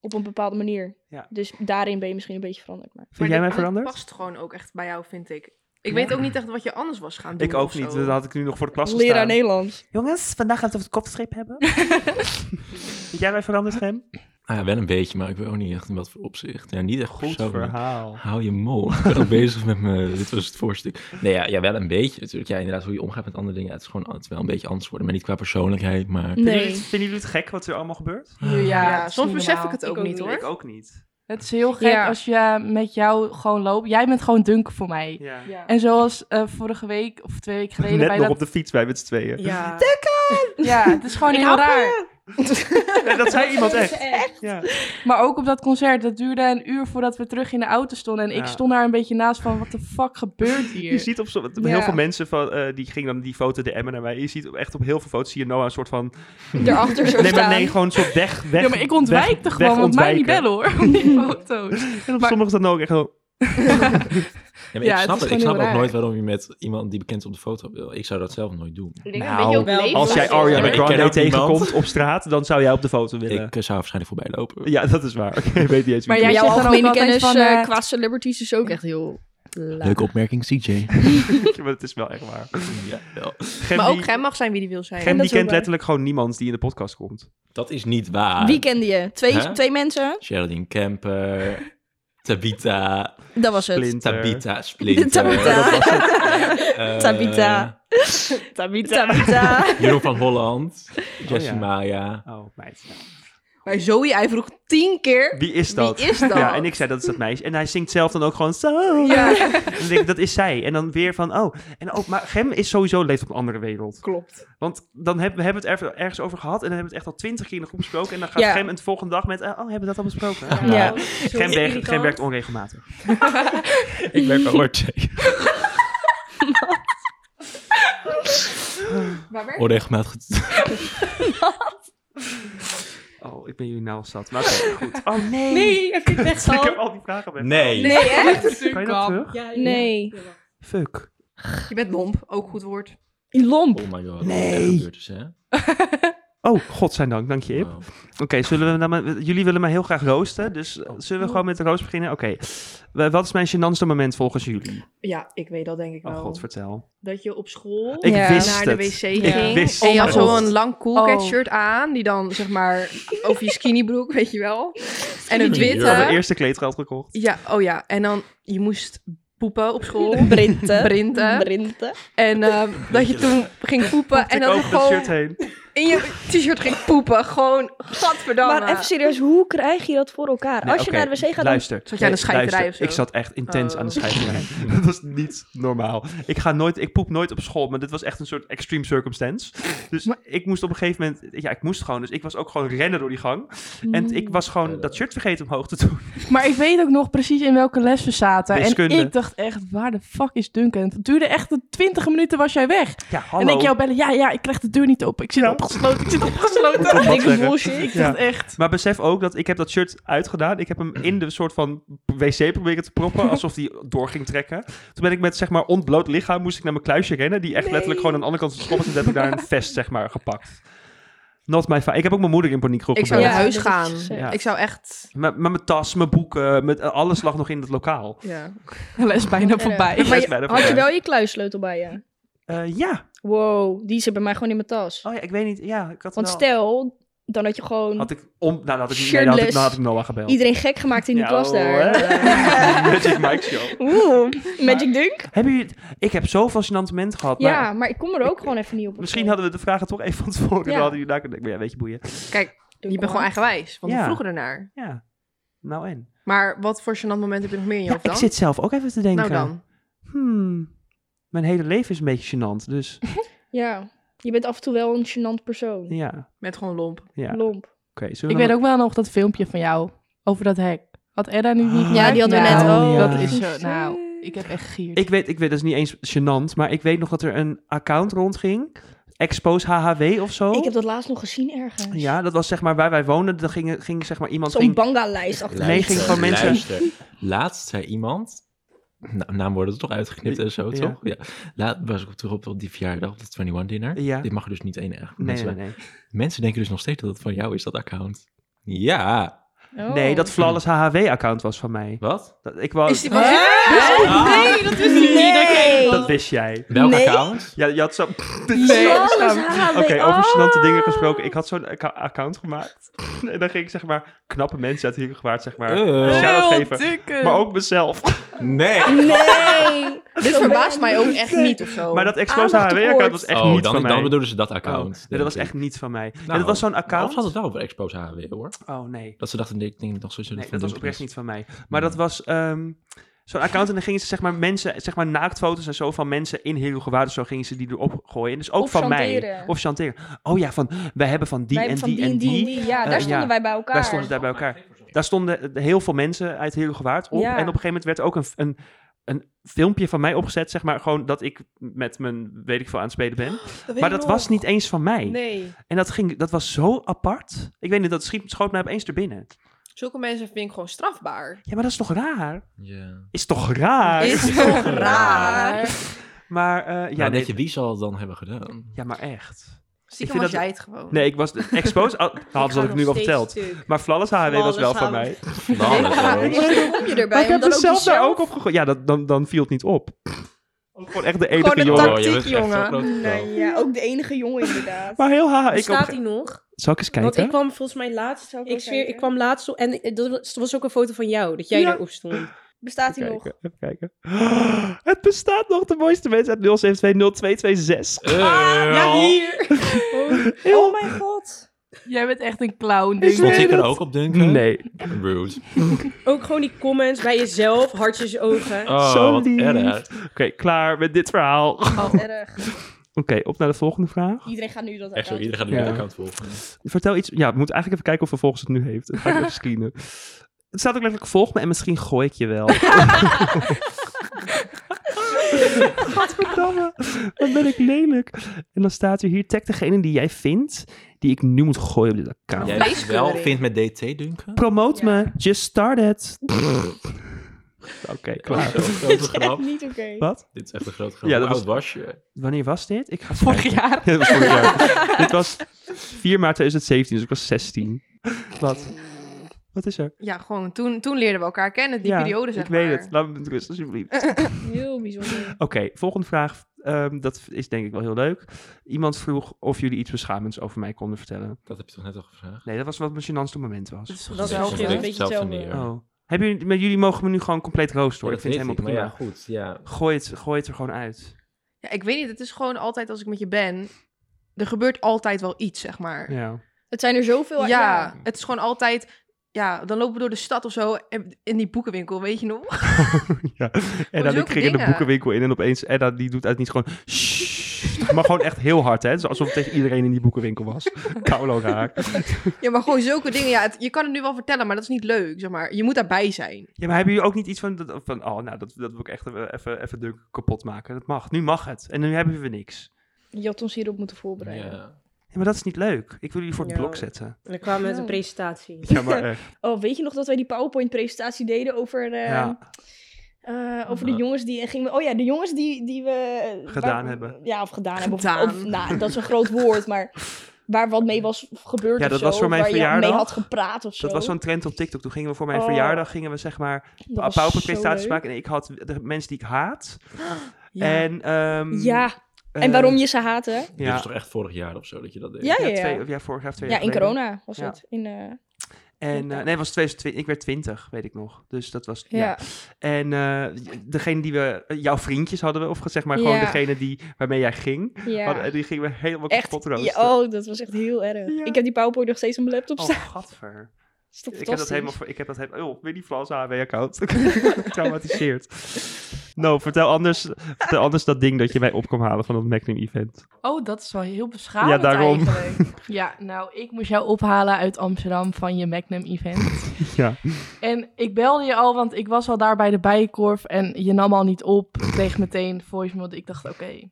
Speaker 1: Op een bepaalde manier.
Speaker 2: Ja. Dus
Speaker 1: Dus daarin ben je misschien een beetje veranderd. Maar...
Speaker 2: Vind jij mij veranderd?
Speaker 6: Dat past gewoon ook echt bij jou, vind ik. Ik weet ook niet echt wat je anders was gaan doen.
Speaker 2: Ik ook
Speaker 6: of
Speaker 2: niet.
Speaker 6: zo.
Speaker 2: Dat had ik nu nog voor de klas
Speaker 1: Leraar
Speaker 2: gestaan.
Speaker 1: Nederlands.
Speaker 2: Jongens, vandaag gaan we het over het kopschip hebben. Vind jij mij veranderd, Gem?
Speaker 3: Ah, ja, wel een beetje, maar ik weet ook niet echt in wat voor opzicht. Ja, niet echt
Speaker 2: Goed
Speaker 3: persoonlijk.
Speaker 2: verhaal.
Speaker 3: Hou je mol. Ik ben al bezig met me. Dit was het voorstuk. Nee, ja, ja, wel een beetje natuurlijk. Ja, inderdaad, hoe je omgaat met andere dingen. Ja, het is gewoon altijd wel een beetje anders worden. Maar niet qua persoonlijkheid, maar...
Speaker 2: Vinden
Speaker 1: Nee.
Speaker 2: jullie, het, vinden jullie het gek wat er allemaal gebeurt?
Speaker 6: Ja,
Speaker 5: Ja,
Speaker 6: soms
Speaker 5: niet
Speaker 6: besef ik
Speaker 5: normaal.
Speaker 6: het ook,
Speaker 4: Ik ook
Speaker 6: niet
Speaker 4: niet.
Speaker 6: hoor.
Speaker 2: Ik ook niet.
Speaker 5: Het is heel gek
Speaker 1: Ja.
Speaker 5: als je met jou gewoon loopt. Jij bent gewoon dunk voor mij.
Speaker 2: Ja.
Speaker 4: Ja.
Speaker 5: En zoals eh, vorige week of twee weken geleden
Speaker 2: Net
Speaker 5: bij
Speaker 2: nog
Speaker 5: dat...
Speaker 2: op de fiets bij met z'n tweeën.
Speaker 4: Ja.
Speaker 5: Ja, het is gewoon
Speaker 4: Ik
Speaker 5: heel
Speaker 4: hou
Speaker 5: raar.
Speaker 2: Nee, dat zei iemand echt.
Speaker 4: echt.
Speaker 2: Ja.
Speaker 5: Maar ook op dat concert, dat duurde een uur voordat we terug in de auto stonden. En
Speaker 2: Ja.
Speaker 5: ik stond daar een beetje naast van, wat de fuck gebeurt hier?
Speaker 2: Je ziet op zo, heel
Speaker 1: Ja.
Speaker 2: veel mensen van, eh, die gingen dan die foto DM'en naar mij. Je ziet op, echt op heel veel foto's zie je Noah een soort van.
Speaker 1: Daarachter zo
Speaker 2: nee, maar
Speaker 1: staan.
Speaker 2: nee, gewoon een soort weg. weg
Speaker 5: ja, maar ik ontwijk
Speaker 2: weg-
Speaker 5: er gewoon,
Speaker 2: weg
Speaker 5: want mij niet
Speaker 2: ontwijken.
Speaker 5: bellen hoor, om die foto's.
Speaker 2: En op
Speaker 5: Maar-
Speaker 2: sommigen dan ook echt zo.
Speaker 3: Ja, maar ik
Speaker 5: Ja, het
Speaker 3: snap
Speaker 5: is
Speaker 3: het. Ik snap
Speaker 5: gewoon heel
Speaker 3: ook
Speaker 5: raar.
Speaker 3: nooit waarom je met iemand die bekend is op de foto wil. Ik zou dat zelf nooit doen.
Speaker 4: Ik denk
Speaker 2: Nou,
Speaker 4: een beetje ook
Speaker 6: als
Speaker 4: leven.
Speaker 2: Als jij
Speaker 3: Ja,
Speaker 2: Ariana
Speaker 3: maar ik ken
Speaker 2: Grande
Speaker 3: ook niemand.
Speaker 2: tegenkomt op straat, dan zou jij op de foto willen.
Speaker 3: Ik eh, zou waarschijnlijk voorbij lopen.
Speaker 2: Ja, dat is waar. Oké, ik weet niet eens wie
Speaker 5: Maar
Speaker 2: het is.
Speaker 5: jij zegt
Speaker 8: Jouw
Speaker 5: dan ook
Speaker 8: algemene
Speaker 5: altijd
Speaker 8: kennis
Speaker 5: van...
Speaker 8: eh,
Speaker 5: eh,
Speaker 8: qua celebrities is ook echt heel laag.
Speaker 3: Leuke opmerking, CJ.
Speaker 2: maar het is wel echt waar.
Speaker 3: ja, wel.
Speaker 2: Gem,
Speaker 6: Maar ook
Speaker 2: die,
Speaker 6: Gem mag zijn wie die wil zijn.
Speaker 2: Gem die
Speaker 1: is ook
Speaker 2: kent
Speaker 1: waar.
Speaker 2: letterlijk gewoon niemand die in de podcast komt.
Speaker 3: Dat is niet waar.
Speaker 8: Wie kende je? Twee,
Speaker 3: Hè?
Speaker 8: twee mensen?
Speaker 3: Geraldine Kemper, Tabita,
Speaker 8: Dat was het.
Speaker 2: Splinter.
Speaker 3: Tabita Splinter.
Speaker 8: Tabita.
Speaker 3: Dat was het. Eh,
Speaker 8: Tabita. Tabita. Tabita.
Speaker 3: Jeroen van Holland, Jessie
Speaker 2: Oh, ja.
Speaker 3: Maya.
Speaker 2: Oh, meid. Nou,
Speaker 6: Maar Zoe, hij vroeg tien keer.
Speaker 2: Wie is dat?
Speaker 6: Wie is dat?
Speaker 2: Ja, en ik zei dat is dat meisje. En hij zingt zelf dan ook gewoon zo.
Speaker 6: Ja,
Speaker 2: En dan denk ik, dat is zij. En dan weer van, oh. En ook, maar Gem is sowieso leeft op een andere wereld.
Speaker 6: klopt.
Speaker 2: Want dan hebben we hebben het er, ergens over gehad. En dan hebben we het echt al twintig keer in de groep besproken. En dan gaat
Speaker 8: Ja.
Speaker 2: Gem het volgende dag met, eh, oh, hebben we dat al besproken?
Speaker 3: Ja.
Speaker 2: Ja.
Speaker 4: Oh, zo
Speaker 2: Gem, werkt-
Speaker 4: irritant.
Speaker 2: Gem werkt onregelmatig.
Speaker 3: Ik werk ORT. Onregelmatig. get-
Speaker 2: Oh, ik ben jullie nou al zat. Maar oké, goed. Oh nee,
Speaker 4: Nee, heb ik echt
Speaker 2: ik heb
Speaker 4: al.
Speaker 2: al die vragen bij.
Speaker 3: Nee.
Speaker 8: Nee, echt?
Speaker 2: Kan je dat terug?
Speaker 4: Ja, ja.
Speaker 8: Nee.
Speaker 2: Fuck.
Speaker 6: Je bent lomp, ook goed woord.
Speaker 1: Lomp.
Speaker 3: Oh my god.
Speaker 2: Nee.
Speaker 3: Dat gebeurt dus, hè? Oh.
Speaker 2: Oh, godzijdank, dank je. Ip.
Speaker 3: Wow.
Speaker 2: Oké, zullen we dan maar- jullie willen mij heel graag roosten, dus eh, zullen we gewoon met de roos beginnen? Oké, Wa- wat is mijn gênantste moment volgens jullie?
Speaker 6: Ja, ik weet dat denk ik
Speaker 2: Oh
Speaker 6: wel.
Speaker 2: god, vertel.
Speaker 4: Dat je op school...
Speaker 2: Ik
Speaker 8: Ja.
Speaker 2: wist
Speaker 6: naar de
Speaker 2: het.
Speaker 6: wc
Speaker 2: Ik
Speaker 6: ging.
Speaker 2: wist
Speaker 6: en je
Speaker 2: het.
Speaker 6: had zo'n lang cool cat
Speaker 5: Oh.
Speaker 6: shirt aan, die dan zeg maar over je skinny broek, weet je wel. En het
Speaker 3: broek.
Speaker 2: Ik had mijn
Speaker 6: witte.
Speaker 2: eerste kleedgeld gekocht.
Speaker 6: Ja, oh ja. En dan, je moest poepen op school.
Speaker 8: Brinte.
Speaker 6: Printen.
Speaker 8: Brinte.
Speaker 6: En ehm, dat je toen ging poepen en
Speaker 2: Ik
Speaker 6: dan
Speaker 2: over dat
Speaker 6: gewoon
Speaker 2: shirt heen.
Speaker 6: in je t-shirt ging poepen. Gewoon, gadverdamme.
Speaker 1: Maar even serieus, hoe krijg je dat voor elkaar?
Speaker 2: Nee,
Speaker 1: Als je
Speaker 2: oké,
Speaker 1: naar de wc gaat, dan...
Speaker 2: luister.
Speaker 6: Zat jij aan de scheiterij
Speaker 2: luister,
Speaker 6: of zo?
Speaker 2: Ik zat echt intens
Speaker 6: Oh.
Speaker 2: aan de scheiterij. dat was niet normaal. Ik, ga nooit, ik poep nooit op school, maar dit was echt een soort extreme circumstance. Dus ik moest op een gegeven moment... Ja, ik moest gewoon. Dus ik was ook gewoon rennen door die gang. En ik was
Speaker 6: Mm.
Speaker 2: gewoon dat shirt vergeten omhoog te doen.
Speaker 5: Maar ik weet ook nog precies in welke les we zaten.
Speaker 2: Wiskunde.
Speaker 5: En ik dacht echt, waar de fuck is Duncan? Het duurde echt een 20 minuten was jij weg.
Speaker 2: Ja, hallo.
Speaker 5: En ik jou bellen, ja, ja, ik krijg de deur niet open. Ik zit
Speaker 2: Ja.
Speaker 5: opgesloten, ik zit
Speaker 2: Moet toch
Speaker 5: opgesloten.
Speaker 2: wat zeggen.
Speaker 5: Ik
Speaker 2: Ja.
Speaker 5: dacht echt,
Speaker 2: Maar besef ook dat ik heb dat shirt uitgedaan. Ik heb hem in de soort van wc proberen te proppen, alsof die door ging trekken. Toen ben ik met zeg maar ontbloot lichaam moest ik naar mijn kluisje rennen, die echt letterlijk gewoon aan de andere kant van de schop was. En toen heb ik daar een vest zeg maar gepakt. Not my fa- Ik heb ook mijn moeder in paniek geroepen.
Speaker 6: Ik zou
Speaker 8: Ja,
Speaker 6: naar huis
Speaker 8: dat is
Speaker 6: gaan.
Speaker 8: gezegd.
Speaker 2: Ja.
Speaker 6: Ik zou echt...
Speaker 2: Met, met mijn tas, mijn boeken, met, eh, alles lag nog in het lokaal.
Speaker 6: Ja.
Speaker 5: de les bijna
Speaker 8: Erg.
Speaker 5: voorbij.
Speaker 8: Maar
Speaker 2: Dat is
Speaker 8: je-
Speaker 2: bijna
Speaker 8: had je
Speaker 2: voorbij.
Speaker 8: wel je kluissleutel bij je?
Speaker 2: Eh, ja.
Speaker 8: Wow, die zit bij mij gewoon in mijn tas.
Speaker 2: Oh ja, ik weet niet. Ja, ik had
Speaker 8: Want
Speaker 2: wel...
Speaker 8: stel,
Speaker 1: dan had je gewoon
Speaker 2: Had ik om... Nou, dan had ik, nee, dan had ik,
Speaker 1: Shirtless.
Speaker 2: dan had ik Noah gebeld.
Speaker 1: iedereen gek gemaakt in die
Speaker 2: Ja,
Speaker 1: klas daar.
Speaker 2: hoor. Magic Mike Show.
Speaker 1: Oeh, Magic Dunk?
Speaker 2: Hebben jullie... het- Ik heb zoveel gênant moment gehad. maar
Speaker 1: Ja, maar ik kom er ook gewoon even niet op.
Speaker 2: Misschien hadden we de vragen toch even van tevoren.
Speaker 1: Ja.
Speaker 2: Dan hadden jullie daar kunnen denken. Maar ja, weet je, boeien.
Speaker 6: Je bent gewoon eigenwijs, want we
Speaker 2: Ja.
Speaker 6: vroegen ernaar.
Speaker 2: Ja. Nou en?
Speaker 6: Maar wat voor gênant moment heb je nog meer in je
Speaker 2: Ja,
Speaker 6: hoofd
Speaker 2: ik
Speaker 6: dan?
Speaker 2: zit zelf ook even te denken.
Speaker 6: nou dan.
Speaker 2: Hmm, mijn hele leven is een beetje gênant. Dus
Speaker 1: Ja, je bent af en toe wel een gênant persoon.
Speaker 2: ja. Oké,
Speaker 6: Met gewoon lomp.
Speaker 2: Ja.
Speaker 1: Lomp.
Speaker 2: zullen
Speaker 5: Ik
Speaker 2: we
Speaker 5: weet
Speaker 2: dan-
Speaker 5: ook wel nog dat filmpje van jou over dat hek. Had Edda nu niet
Speaker 2: Ja,
Speaker 5: gemaakt?
Speaker 8: die hadden we net
Speaker 5: Nou,
Speaker 2: ook.
Speaker 5: Dat
Speaker 2: Ja.
Speaker 5: is zo, nou, ik heb echt gier.
Speaker 2: Ik weet, ik weet, dat is niet eens gênant, maar ik weet nog dat er een account rondging. Expose HHW of zo.
Speaker 1: Ik heb dat laatst nog gezien ergens.
Speaker 2: Oh. Ja, dat was zeg maar waar wij woonden. Dan ging, ging zeg maar iemand...
Speaker 1: Zo'n
Speaker 2: ging-
Speaker 1: banga-lijst achter.
Speaker 2: Nee, ging van mensen-
Speaker 3: Luister. Laatst zei iemand. Na, naam worden er toch uitgeknipt en zo,
Speaker 2: Ja.
Speaker 3: toch? Ja. Laat was ik op terug op die verjaardag, op dat 21-dinner.
Speaker 2: Ja.
Speaker 3: Dit mag er dus niet één echt.
Speaker 2: Nee,
Speaker 3: mensen,
Speaker 2: nee, nee.
Speaker 3: mensen denken dus nog steeds dat het van jou is, dat account. Ja.
Speaker 2: Nee, dat Flawless HHW-account was van mij.
Speaker 3: Wat?
Speaker 2: Dat, ik was,
Speaker 6: Is die
Speaker 2: Ah.
Speaker 6: Nee, dat is niet.
Speaker 2: dat wist jij.
Speaker 3: Welk
Speaker 1: Nee.
Speaker 3: account?
Speaker 2: Ja, je had zo...
Speaker 1: HHW.
Speaker 2: Oké, over
Speaker 4: Oh.
Speaker 1: Oh.
Speaker 2: gênante dingen gesproken. Ik had zo'n acca- account gemaakt. en dan ging ik zeg maar knappe mensen uit hier gewaard, zeg maar.
Speaker 3: Eh,
Speaker 2: shout-out geven. Maar ook mezelf.
Speaker 1: Oh.
Speaker 3: nee.
Speaker 1: Nee.
Speaker 6: Dit verbaast mij ook echt niet of zo.
Speaker 2: Maar dat Expose
Speaker 1: Aandacht
Speaker 2: HW-account
Speaker 1: tekort.
Speaker 2: was echt
Speaker 3: oh,
Speaker 2: niet
Speaker 3: dan,
Speaker 2: van mij.
Speaker 3: dan bedoelen ze dat
Speaker 2: Oh,
Speaker 3: account.
Speaker 2: nee, dat was echt niet van mij. en dat was zo'n
Speaker 3: Of
Speaker 2: account.
Speaker 3: had het wel over Expose HW, hoor.
Speaker 2: Oh nee.
Speaker 3: Dat ze dachten, ik denk nog zo zullen
Speaker 2: Nee,
Speaker 3: van
Speaker 2: dat was
Speaker 3: Duncan
Speaker 2: oprecht
Speaker 3: is. Hmm.
Speaker 2: niet van mij. Maar dat was ehm, zo'n account en dan gingen ze zeg maar mensen, zeg maar naaktfoto's en zo van mensen in heel gewaard of zo gingen ze die erop gooien. En dus ook
Speaker 1: Of
Speaker 2: van mij.
Speaker 1: chanteren.
Speaker 2: Of chanteren. Oh ja, van wij hebben van die
Speaker 1: Wij
Speaker 2: en
Speaker 1: hebben van
Speaker 2: die, en die.
Speaker 1: Ja,
Speaker 2: Eh,
Speaker 1: daar stonden
Speaker 2: ja.
Speaker 1: wij bij elkaar.
Speaker 2: Wij stonden daar bij elkaar. Daar stonden eh, heel veel mensen uit heel gewaard op.
Speaker 1: Ja.
Speaker 2: En op een gegeven moment werd ook een, een, een filmpje van mij opgezet, zeg maar, gewoon dat ik met mijn, weet ik veel, aan het spelen ben. maar dat was niet eens van mij.
Speaker 6: Nee.
Speaker 2: En dat, ging, dat was zo apart. Ik weet niet, dat schiet, schoot mij opeens er binnen.
Speaker 6: Zulke mensen vind ik gewoon strafbaar.
Speaker 2: Ja, maar dat is toch raar?
Speaker 3: Ja. Nou,
Speaker 2: Is toch raar?
Speaker 6: Is toch raar?
Speaker 2: Maar eh, ja,
Speaker 3: Ja,
Speaker 2: nee,
Speaker 3: weet je, wie zal het dan hebben gedaan?
Speaker 2: ja, maar echt.
Speaker 6: Stiekem
Speaker 2: vind
Speaker 6: was
Speaker 2: dat-
Speaker 6: jij het gewoon.
Speaker 2: Nee, ik was de expose. al- dat hadden ze dat ik nu al verteld. Maar Flawless HW was
Speaker 4: Flawless
Speaker 2: wel van
Speaker 4: HW.
Speaker 2: mij.
Speaker 4: kom je
Speaker 2: Maar
Speaker 4: erbij?
Speaker 2: ik heb
Speaker 4: Omdat
Speaker 2: er
Speaker 4: ook die
Speaker 2: zelf daar
Speaker 4: zelf-
Speaker 2: ook op gegooid. Ja, dat, dan, dan viel het niet op. Ook Gewoon echt de enige
Speaker 6: een
Speaker 2: jongen.
Speaker 6: tak- Tactiek, jongen.
Speaker 1: Nee, ja, ook de enige jongen inderdaad.
Speaker 2: Maar heel haha. Ik
Speaker 4: Staat
Speaker 2: op...
Speaker 4: hij nog?
Speaker 2: Zal ik eens
Speaker 4: Want ik
Speaker 2: kijken?
Speaker 4: kwam volgens mij laatst.
Speaker 1: Zou ik
Speaker 4: Ik
Speaker 1: wel
Speaker 4: zweer,
Speaker 1: kijken.
Speaker 4: ik kwam laatst. op- En eh, dat was- er was ook een foto van jou, dat jij
Speaker 2: Ja.
Speaker 4: daarop stond.
Speaker 1: Bestaat hij
Speaker 2: Even
Speaker 1: nog?
Speaker 2: kijken, even kijken. Het bestaat nog de mooiste mensen uit
Speaker 3: Eh.
Speaker 2: 0720226.
Speaker 3: ja,
Speaker 1: Oh mijn god.
Speaker 5: Jij bent echt een clown.
Speaker 2: Ik
Speaker 5: denk
Speaker 3: Stond
Speaker 5: ik.
Speaker 2: weet
Speaker 3: ik er
Speaker 2: het.
Speaker 3: ook op Duncan?
Speaker 2: Nee,
Speaker 3: Rude.
Speaker 4: Ook gewoon die comments bij jezelf, hartjes ogen.
Speaker 3: Oh,
Speaker 2: Zo
Speaker 3: wat
Speaker 2: lief.
Speaker 3: erg.
Speaker 2: Oké, klaar met dit verhaal. Oké,
Speaker 1: Wat erg.
Speaker 2: op naar de volgende vraag.
Speaker 1: Iedereen gaat nu dat
Speaker 3: Echt zo,
Speaker 1: account
Speaker 3: iedereen gaat nu
Speaker 2: Ja.
Speaker 3: de account volgen.
Speaker 2: Vertel iets. Ja, we moeten eigenlijk even kijken of vervolgens het nu heeft. Dan ga ik even screenen. Het staat ook letterlijk volg me en misschien gooi ik je wel. Gadverdamme, wat ben ik lelijk. En dan staat er hier, tag degene die jij vindt, die ik nu moet gooien op dit account.
Speaker 3: Jij het wel
Speaker 6: Vleeskeuring.
Speaker 3: vindt met DT, Duncan?
Speaker 2: Promote me, just started. Oké, klaar.
Speaker 3: Dit is echt een grap.
Speaker 1: Niet oké.
Speaker 2: Wat?
Speaker 3: Dit is echt een groot grap.
Speaker 2: Ja,
Speaker 3: Ja,
Speaker 2: dat
Speaker 3: dat
Speaker 2: was-
Speaker 3: was... was je?
Speaker 2: Wanneer was dit? Ik ga eens
Speaker 5: Vorig
Speaker 2: kijken.
Speaker 5: jaar.
Speaker 2: Dit was vorig jaar. dit was 4 maart 2017, dus ik was 16. Wat? Wat is er?
Speaker 6: Ja, gewoon toen, toen leerden we elkaar kennen, die
Speaker 2: Ja,
Speaker 6: periode zeg
Speaker 2: Ik weet
Speaker 6: maar.
Speaker 2: het. Laat me met rust, alsjeblieft. Oké,
Speaker 1: Heel bijzonder.
Speaker 2: volgende vraag. Ehm, dat is denk ik wel heel leuk. Iemand vroeg of jullie iets beschamends over mij konden vertellen.
Speaker 3: Dat heb je toch net al gevraagd?
Speaker 2: Nee, dat was wat mijn gênantste moment was.
Speaker 5: is toch
Speaker 1: Dat is
Speaker 5: gezellig.
Speaker 1: wel een beetje
Speaker 3: hetzelfde
Speaker 1: hetzelfde.
Speaker 3: neer.
Speaker 2: Oh. Hebben jullie, maar jullie mogen me nu gewoon compleet roosteren.
Speaker 3: Ja,
Speaker 2: hoor. ik vind het
Speaker 3: weet
Speaker 2: helemaal
Speaker 3: maar
Speaker 2: prima.
Speaker 3: Ja, goed, ja.
Speaker 2: Gooi, het, gooi het er gewoon uit.
Speaker 6: Ja, ik weet niet, het is gewoon altijd als ik met je ben, er gebeurt altijd wel iets zeg maar.
Speaker 2: Ja.
Speaker 1: Het zijn er zoveel.
Speaker 6: Ja, het is gewoon altijd... Ja, dan lopen we door de stad of zo en- in die boekenwinkel, weet je nog?
Speaker 2: ja. En
Speaker 6: zulke
Speaker 2: dan ik ging in de
Speaker 6: dingen.
Speaker 2: boekenwinkel in en opeens Edda die doet uit niet gewoon... "Sssst", maar gewoon echt heel hard, hè. Dus alsof het tegen iedereen in die boekenwinkel was. Kaulo raar.
Speaker 6: Ja, maar gewoon zulke dingen. Ja, het- je kan het nu wel vertellen, maar dat is niet leuk, zeg maar. Je moet daarbij zijn.
Speaker 2: Ja, maar hebben jullie ook niet iets van, dat- van oh, nou, dat, dat wil ik echt even, even, even dunk kapot maken. Dat mag. Nu mag het. En nu hebben we niks.
Speaker 1: Je had ons hierop moeten voorbereiden.
Speaker 3: ja.
Speaker 2: Ja, maar dat is niet leuk. Ik wil jullie voor het
Speaker 4: Ja.
Speaker 2: blok zetten.
Speaker 4: En dan kwamen we met een presentatie.
Speaker 2: Ja, maar eh,
Speaker 1: Oh, weet je nog dat wij die PowerPoint-presentatie deden over, eh,
Speaker 2: Ja.
Speaker 1: eh, over de
Speaker 3: Ja.
Speaker 1: jongens die... en Gingen we, oh ja, de jongens die, die we...
Speaker 2: Gedaan hebben.
Speaker 1: Ja, of gedaan,
Speaker 6: Gedaan.
Speaker 1: hebben. Of, of, nou, dat is een groot woord, maar waar wat mee was gebeurd
Speaker 2: Ja,
Speaker 1: of
Speaker 2: dat
Speaker 1: zo,
Speaker 2: was voor mijn
Speaker 1: waar je
Speaker 2: verjaardag.
Speaker 1: mee had gepraat of zo.
Speaker 2: dat was zo'n trend op TikTok. Toen gingen we voor mijn
Speaker 1: Oh.
Speaker 2: verjaardag, gingen we zeg maar
Speaker 1: Dat was
Speaker 2: pauperprestaties
Speaker 1: zo leuk.
Speaker 2: maken. En ik had de mensen die ik haat.
Speaker 6: Ja.
Speaker 2: En ehm,
Speaker 1: Ja, En
Speaker 2: eh,
Speaker 1: waarom je ze haatte?
Speaker 2: Ja,
Speaker 3: Dit is toch echt vorig jaar of zo dat je dat deed?
Speaker 1: Ja, ja,
Speaker 2: ja,
Speaker 1: ja.
Speaker 2: twee, ja, vorig jaar of twee
Speaker 1: Ja,
Speaker 2: jaar
Speaker 1: in
Speaker 2: geleden.
Speaker 1: corona was
Speaker 2: Ja.
Speaker 1: het. In, eh,
Speaker 2: En, eh, nee, het was 2020. Ik werd 20, weet ik nog. Dus dat was. Ja.
Speaker 1: ja.
Speaker 2: En eh, degene die we. Jouw vriendjes hadden we, of zeg maar gewoon
Speaker 1: Ja.
Speaker 2: degene die, waarmee jij ging.
Speaker 1: Ja.
Speaker 2: Hadden, eh, die gingen we helemaal
Speaker 1: Echt,
Speaker 2: kapot
Speaker 1: ja,
Speaker 2: roosten.
Speaker 1: oh, dat was echt heel erg.
Speaker 2: Ja.
Speaker 1: Ik heb die PowerPoint nog steeds op mijn laptop
Speaker 2: Oh,
Speaker 1: staan.
Speaker 2: gadver.
Speaker 1: Is toch
Speaker 2: Ik heb dat
Speaker 1: fantastisch?
Speaker 2: helemaal. voor- Ik heb dat helemaal. Oh, Winnie Flans HB-account. Getraumatiseerd. Nou, vertel anders, vertel anders dat ding dat je mij op kwam halen van dat Magnum-event.
Speaker 5: Oh, dat is wel heel beschamend
Speaker 2: Ja, daarom.
Speaker 5: eigenlijk. Ja, nou, ik moest jou ophalen uit Amsterdam van je Magnum-event.
Speaker 2: Ja.
Speaker 5: En ik belde je al, want ik was al daar bij de Bijenkorf en je nam al niet op. Ik kreeg meteen voicemail. Ik dacht, oké,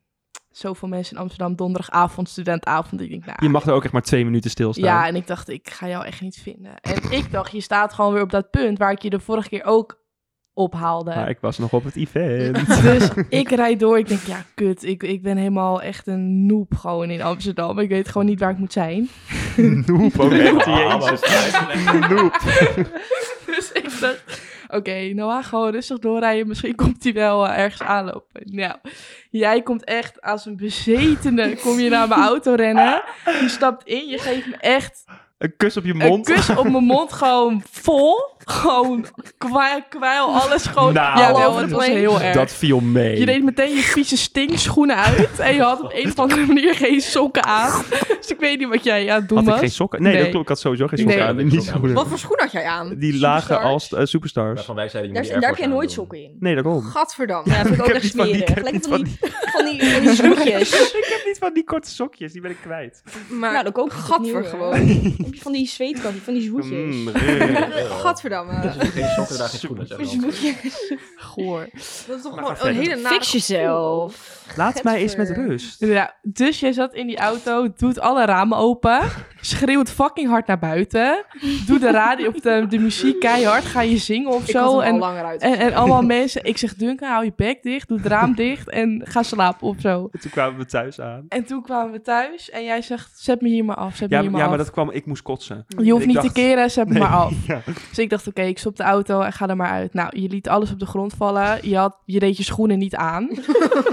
Speaker 5: zoveel mensen in Amsterdam, donderdagavond, studentavond. Ik denk, nou,
Speaker 2: Je mag er ook echt maar twee minuten stilstaan.
Speaker 5: Ja, en ik dacht, ik ga jou echt niet vinden. En ik dacht, je staat gewoon weer op dat punt waar ik je de vorige keer ook ophaalde.
Speaker 2: Maar ik was nog op het event.
Speaker 5: Dus ik rijd door. Ik denk, ja, kut. Ik, ik ben helemaal echt een noob gewoon in Amsterdam. Ik weet gewoon niet waar ik moet zijn.
Speaker 2: Noep, ook echt.
Speaker 3: Ah,
Speaker 2: Jezus.
Speaker 3: maar-
Speaker 5: Dus ik dacht, oké, Noah, gewoon rustig doorrijden. Misschien komt hij wel eh, ergens aanlopen. Nou, jij komt echt als een bezetene. Kom je naar mijn auto rennen. Je stapt in. Je geeft me echt
Speaker 2: Een kus op je mond.
Speaker 5: Een kus op mijn mond, gewoon vol. Gewoon kwijl, kwijl alles gewoon.
Speaker 2: Nou,
Speaker 5: ja, wel, het was heel erg.
Speaker 2: Dat viel mee.
Speaker 5: Je deed meteen je vieze stinkschoenen uit. En je had op een of andere manier geen sokken aan. Dus ik weet niet wat jij aan het doen
Speaker 2: had ik
Speaker 5: was.
Speaker 2: geen sokken? Nee,
Speaker 5: Nee.
Speaker 2: dat klopt. Ik had sowieso geen sokken
Speaker 5: Nee.
Speaker 2: aan. En die schoenen.
Speaker 6: Wat voor schoen had jij aan?
Speaker 2: Die lagen als eh, superstars.
Speaker 3: Waarvan wij zeiden, je
Speaker 1: Daar,
Speaker 3: moet die
Speaker 1: daar heb je
Speaker 3: Air Force
Speaker 1: nooit
Speaker 3: aandoen.
Speaker 1: sokken in.
Speaker 2: Nee, daarom.
Speaker 6: Gadverdam.
Speaker 1: Ja, dat vind ik ook
Speaker 2: heb
Speaker 1: echt
Speaker 2: niet van die- ik
Speaker 1: smerig.
Speaker 2: heb
Speaker 1: Lekker
Speaker 2: niet
Speaker 1: van die, van die, van die snoetjes.
Speaker 2: ik heb niet van die korte sokjes. Die ben ik kwijt.
Speaker 6: Maar
Speaker 1: nou, dan koop ik het
Speaker 6: Gadver
Speaker 1: nieuwe.
Speaker 6: gewoon.
Speaker 1: Heb je Van die zweetkant, van die zwoetjes.
Speaker 2: Mm, rrr.
Speaker 6: Gadverdamme.
Speaker 3: Dus Geen sokken, daar geen schoenen. zeg maar.
Speaker 5: Goor.
Speaker 6: Dat is toch
Speaker 2: Maar
Speaker 6: gewoon
Speaker 2: ga
Speaker 6: een
Speaker 2: verder.
Speaker 6: hele nare...
Speaker 1: Fix jezelf.
Speaker 2: Laat mij eens met rust.
Speaker 5: Ja, dus jij zat in die auto, doet alle ramen open, schreeuwt fucking hard naar buiten, doet de radio op de, de muziek keihard, ga je zingen of
Speaker 6: Ik
Speaker 5: zo.
Speaker 6: had hem al
Speaker 5: En,
Speaker 6: langer uit.
Speaker 5: en, en allemaal mensen, ik zeg Duncan, hou je bek dicht, doe het raam dicht en ga slapen of zo.
Speaker 2: Toen kwamen we thuis aan.
Speaker 5: En toen kwamen we thuis en jij zegt, zet me hier maar af, zet
Speaker 2: Ja,
Speaker 5: me hier
Speaker 2: maar-
Speaker 5: maar
Speaker 2: ja,
Speaker 5: af.
Speaker 2: maar dat kwam... Ik moest kotsen.
Speaker 5: Je hoeft
Speaker 2: ik
Speaker 5: niet
Speaker 2: dacht-
Speaker 5: te keren, zet me
Speaker 2: Nee,
Speaker 5: maar
Speaker 3: Oh.
Speaker 5: af.
Speaker 2: ja.
Speaker 5: Dus ik dacht, oké, ik stop de auto en ga er maar uit. Nou, je liet alles op de grond vallen. Je, had, je deed je schoenen niet aan.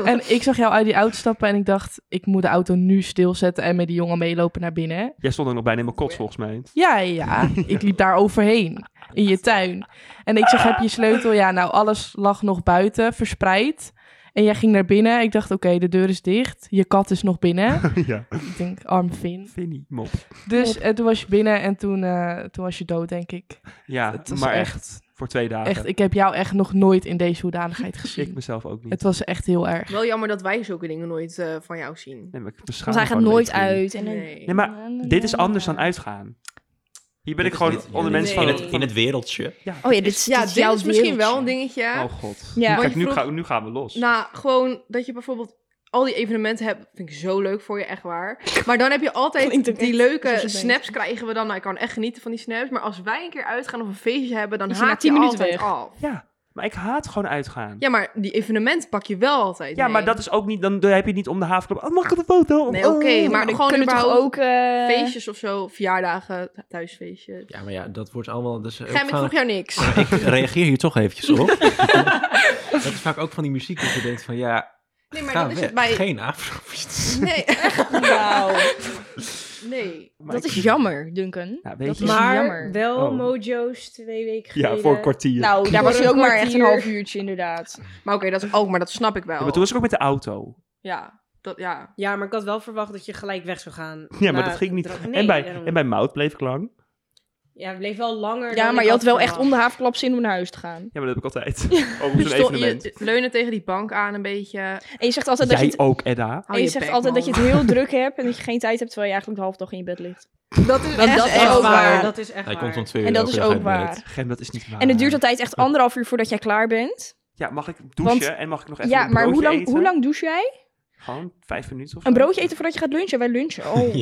Speaker 5: en ik zag jou uit die auto stappen en ik dacht, ik moet de auto nu stilzetten en met die jongen meelopen naar binnen.
Speaker 2: Jij stond ook nog bijna in mijn kots, volgens mij.
Speaker 5: Ja, ja, ik liep daar overheen in je tuin. En ik zeg, heb je sleutel? Ja, nou, alles lag nog buiten, verspreid. En jij ging naar binnen. Ik dacht, oké, de deur is dicht. Je kat is nog binnen.
Speaker 2: ja.
Speaker 5: ik denk, arm Vin.
Speaker 2: Vinnie, mop.
Speaker 5: Dus eh, toen was je binnen en toen, eh, toen was je dood, denk ik.
Speaker 2: Ja,
Speaker 5: Het was
Speaker 2: maar echt.
Speaker 5: echt-
Speaker 2: Voor twee dagen.
Speaker 5: Echt, ik heb jou echt nog nooit in deze hoedanigheid
Speaker 2: ik
Speaker 5: gezien.
Speaker 2: mezelf ook niet.
Speaker 5: Het was echt heel erg.
Speaker 6: Wel jammer dat wij zulke dingen nooit eh, van jou zien.
Speaker 2: Nee, maar ik beschaam
Speaker 1: Want hij gaat
Speaker 2: me gewoon
Speaker 1: nooit
Speaker 2: een beetje.
Speaker 1: uit. En dan-
Speaker 6: Nee.
Speaker 2: Nee, maar dit is anders dan uitgaan. Hier ben
Speaker 3: Dit
Speaker 2: ik
Speaker 3: is
Speaker 2: gewoon
Speaker 3: niet
Speaker 2: onder
Speaker 3: jullie.
Speaker 2: mensen
Speaker 3: In
Speaker 2: van...
Speaker 3: het, in het wereldje.
Speaker 1: Oh ja, dit is,
Speaker 6: ja,
Speaker 1: dit
Speaker 6: dit
Speaker 1: is jouw
Speaker 6: is misschien wel
Speaker 1: wereldje.
Speaker 6: een dingetje.
Speaker 2: Oh god.
Speaker 1: Ja.
Speaker 2: Kijk,
Speaker 6: Want je
Speaker 2: nu,
Speaker 6: vroeg-
Speaker 2: ga- nu gaan we los.
Speaker 6: Nou, gewoon dat je bijvoorbeeld al die evenementen hebt, vind ik zo leuk voor je, echt waar. Maar dan heb je altijd
Speaker 1: Klinkt ook
Speaker 6: die
Speaker 1: echt
Speaker 6: leuke
Speaker 1: alsof je
Speaker 6: snaps krijgen we dan. Nou, ik kan echt genieten van die snaps. Maar als wij een keer uitgaan of een feestje hebben, dan
Speaker 1: Is je na
Speaker 6: haak je
Speaker 1: 10 minuten
Speaker 6: altijd
Speaker 1: weg.
Speaker 6: af.
Speaker 2: Ja, maar ik haat gewoon uitgaan. Ja,
Speaker 6: Ja, maar die evenementen pak je wel altijd mee.
Speaker 2: maar dat is ook niet... Dan dan heb je het niet om de havenklap. Oh, mag ik een foto? Of-
Speaker 6: Nee, oké,
Speaker 2: oh.
Speaker 6: maar
Speaker 1: Maar dan
Speaker 6: gewoon
Speaker 1: kunnen we toch
Speaker 6: überhaupt
Speaker 1: ook... eh,
Speaker 6: feestjes of zo, verjaardagen, thuisfeestjes.
Speaker 3: Ja, maar ja, dat wordt allemaal... Dus, eh,
Speaker 6: Gijm, ik
Speaker 3: gaan-
Speaker 6: vroeg jou niks.
Speaker 3: Maar ik reageer hier toch eventjes op. dat is vaak ook van die muziek dat je denkt van ja,
Speaker 6: Nee, maar
Speaker 3: ga
Speaker 6: dan is
Speaker 3: weg.
Speaker 6: het bij...
Speaker 3: Geen afrofiets.
Speaker 6: Nee, echt. Nee.
Speaker 2: Maar
Speaker 1: Dat
Speaker 2: ik-
Speaker 1: is jammer, Duncan.
Speaker 2: Ja, weet
Speaker 1: dat
Speaker 2: je-
Speaker 1: is
Speaker 4: Maar
Speaker 1: jammer.
Speaker 4: wel
Speaker 2: Oh.
Speaker 4: Mojo's twee weken
Speaker 2: Ja,
Speaker 4: geleden.
Speaker 2: voor een kwartier.
Speaker 1: Nou, daar
Speaker 4: Voor
Speaker 1: was
Speaker 4: een
Speaker 1: hij ook maar echt een
Speaker 4: kwartier.
Speaker 1: half uurtje inderdaad.
Speaker 6: Maar oké, dat is ook, maar dat snap ik wel.
Speaker 2: Ja,
Speaker 6: Ja,
Speaker 2: maar toen was ik ook met de auto.
Speaker 6: dat, ja.
Speaker 4: Ja, maar ik had wel verwacht dat je gelijk weg zou gaan.
Speaker 2: Ja,
Speaker 1: Nou,
Speaker 2: maar
Speaker 4: Na
Speaker 2: dat ging niet.
Speaker 4: dra-
Speaker 2: en,
Speaker 4: Nee,
Speaker 2: bij,
Speaker 4: daarom.
Speaker 2: en bij Mout bleef ik lang.
Speaker 4: Ja, het bleef wel langer
Speaker 1: Ja,
Speaker 4: dan
Speaker 1: maar
Speaker 4: ik
Speaker 1: je had wel echt
Speaker 4: verwacht.
Speaker 1: om de havenklap zin om naar huis te gaan.
Speaker 2: Ja, maar dat heb ik altijd. Over zo'n
Speaker 6: Dus toch,
Speaker 2: evenement.
Speaker 6: je leunen tegen die bank aan een beetje.
Speaker 1: En je zegt altijd dat je
Speaker 2: Jij
Speaker 1: het,
Speaker 2: ook, Edda.
Speaker 6: Hou
Speaker 1: en je
Speaker 6: je
Speaker 1: zegt
Speaker 6: bek,
Speaker 1: altijd dat je
Speaker 6: man.
Speaker 1: het heel druk hebt en dat je geen tijd hebt terwijl je eigenlijk de halve dag in je bed ligt.
Speaker 6: Dat is
Speaker 1: Dat-
Speaker 6: echt,
Speaker 1: dat is
Speaker 6: echt
Speaker 1: ook waar.
Speaker 4: Dat is echt
Speaker 3: Hij
Speaker 4: waar.
Speaker 3: komt om twee uur.
Speaker 1: En dat
Speaker 3: elke
Speaker 1: is
Speaker 3: dag
Speaker 1: ook
Speaker 3: uit bed.
Speaker 1: waar.
Speaker 2: Gem, dat is niet waar.
Speaker 1: En het duurt altijd echt anderhalf uur voordat jij klaar bent.
Speaker 2: Ja, mag ik douchen
Speaker 1: Want-
Speaker 2: en mag ik nog even
Speaker 1: Ja,
Speaker 2: een
Speaker 1: maar hoe
Speaker 2: broodje
Speaker 1: lang,
Speaker 2: eten?
Speaker 1: hoe lang douche jij?
Speaker 2: Gewoon vijf minuten of
Speaker 1: Een
Speaker 2: zo.
Speaker 1: broodje eten voordat je gaat lunchen? Wij lunchen altijd.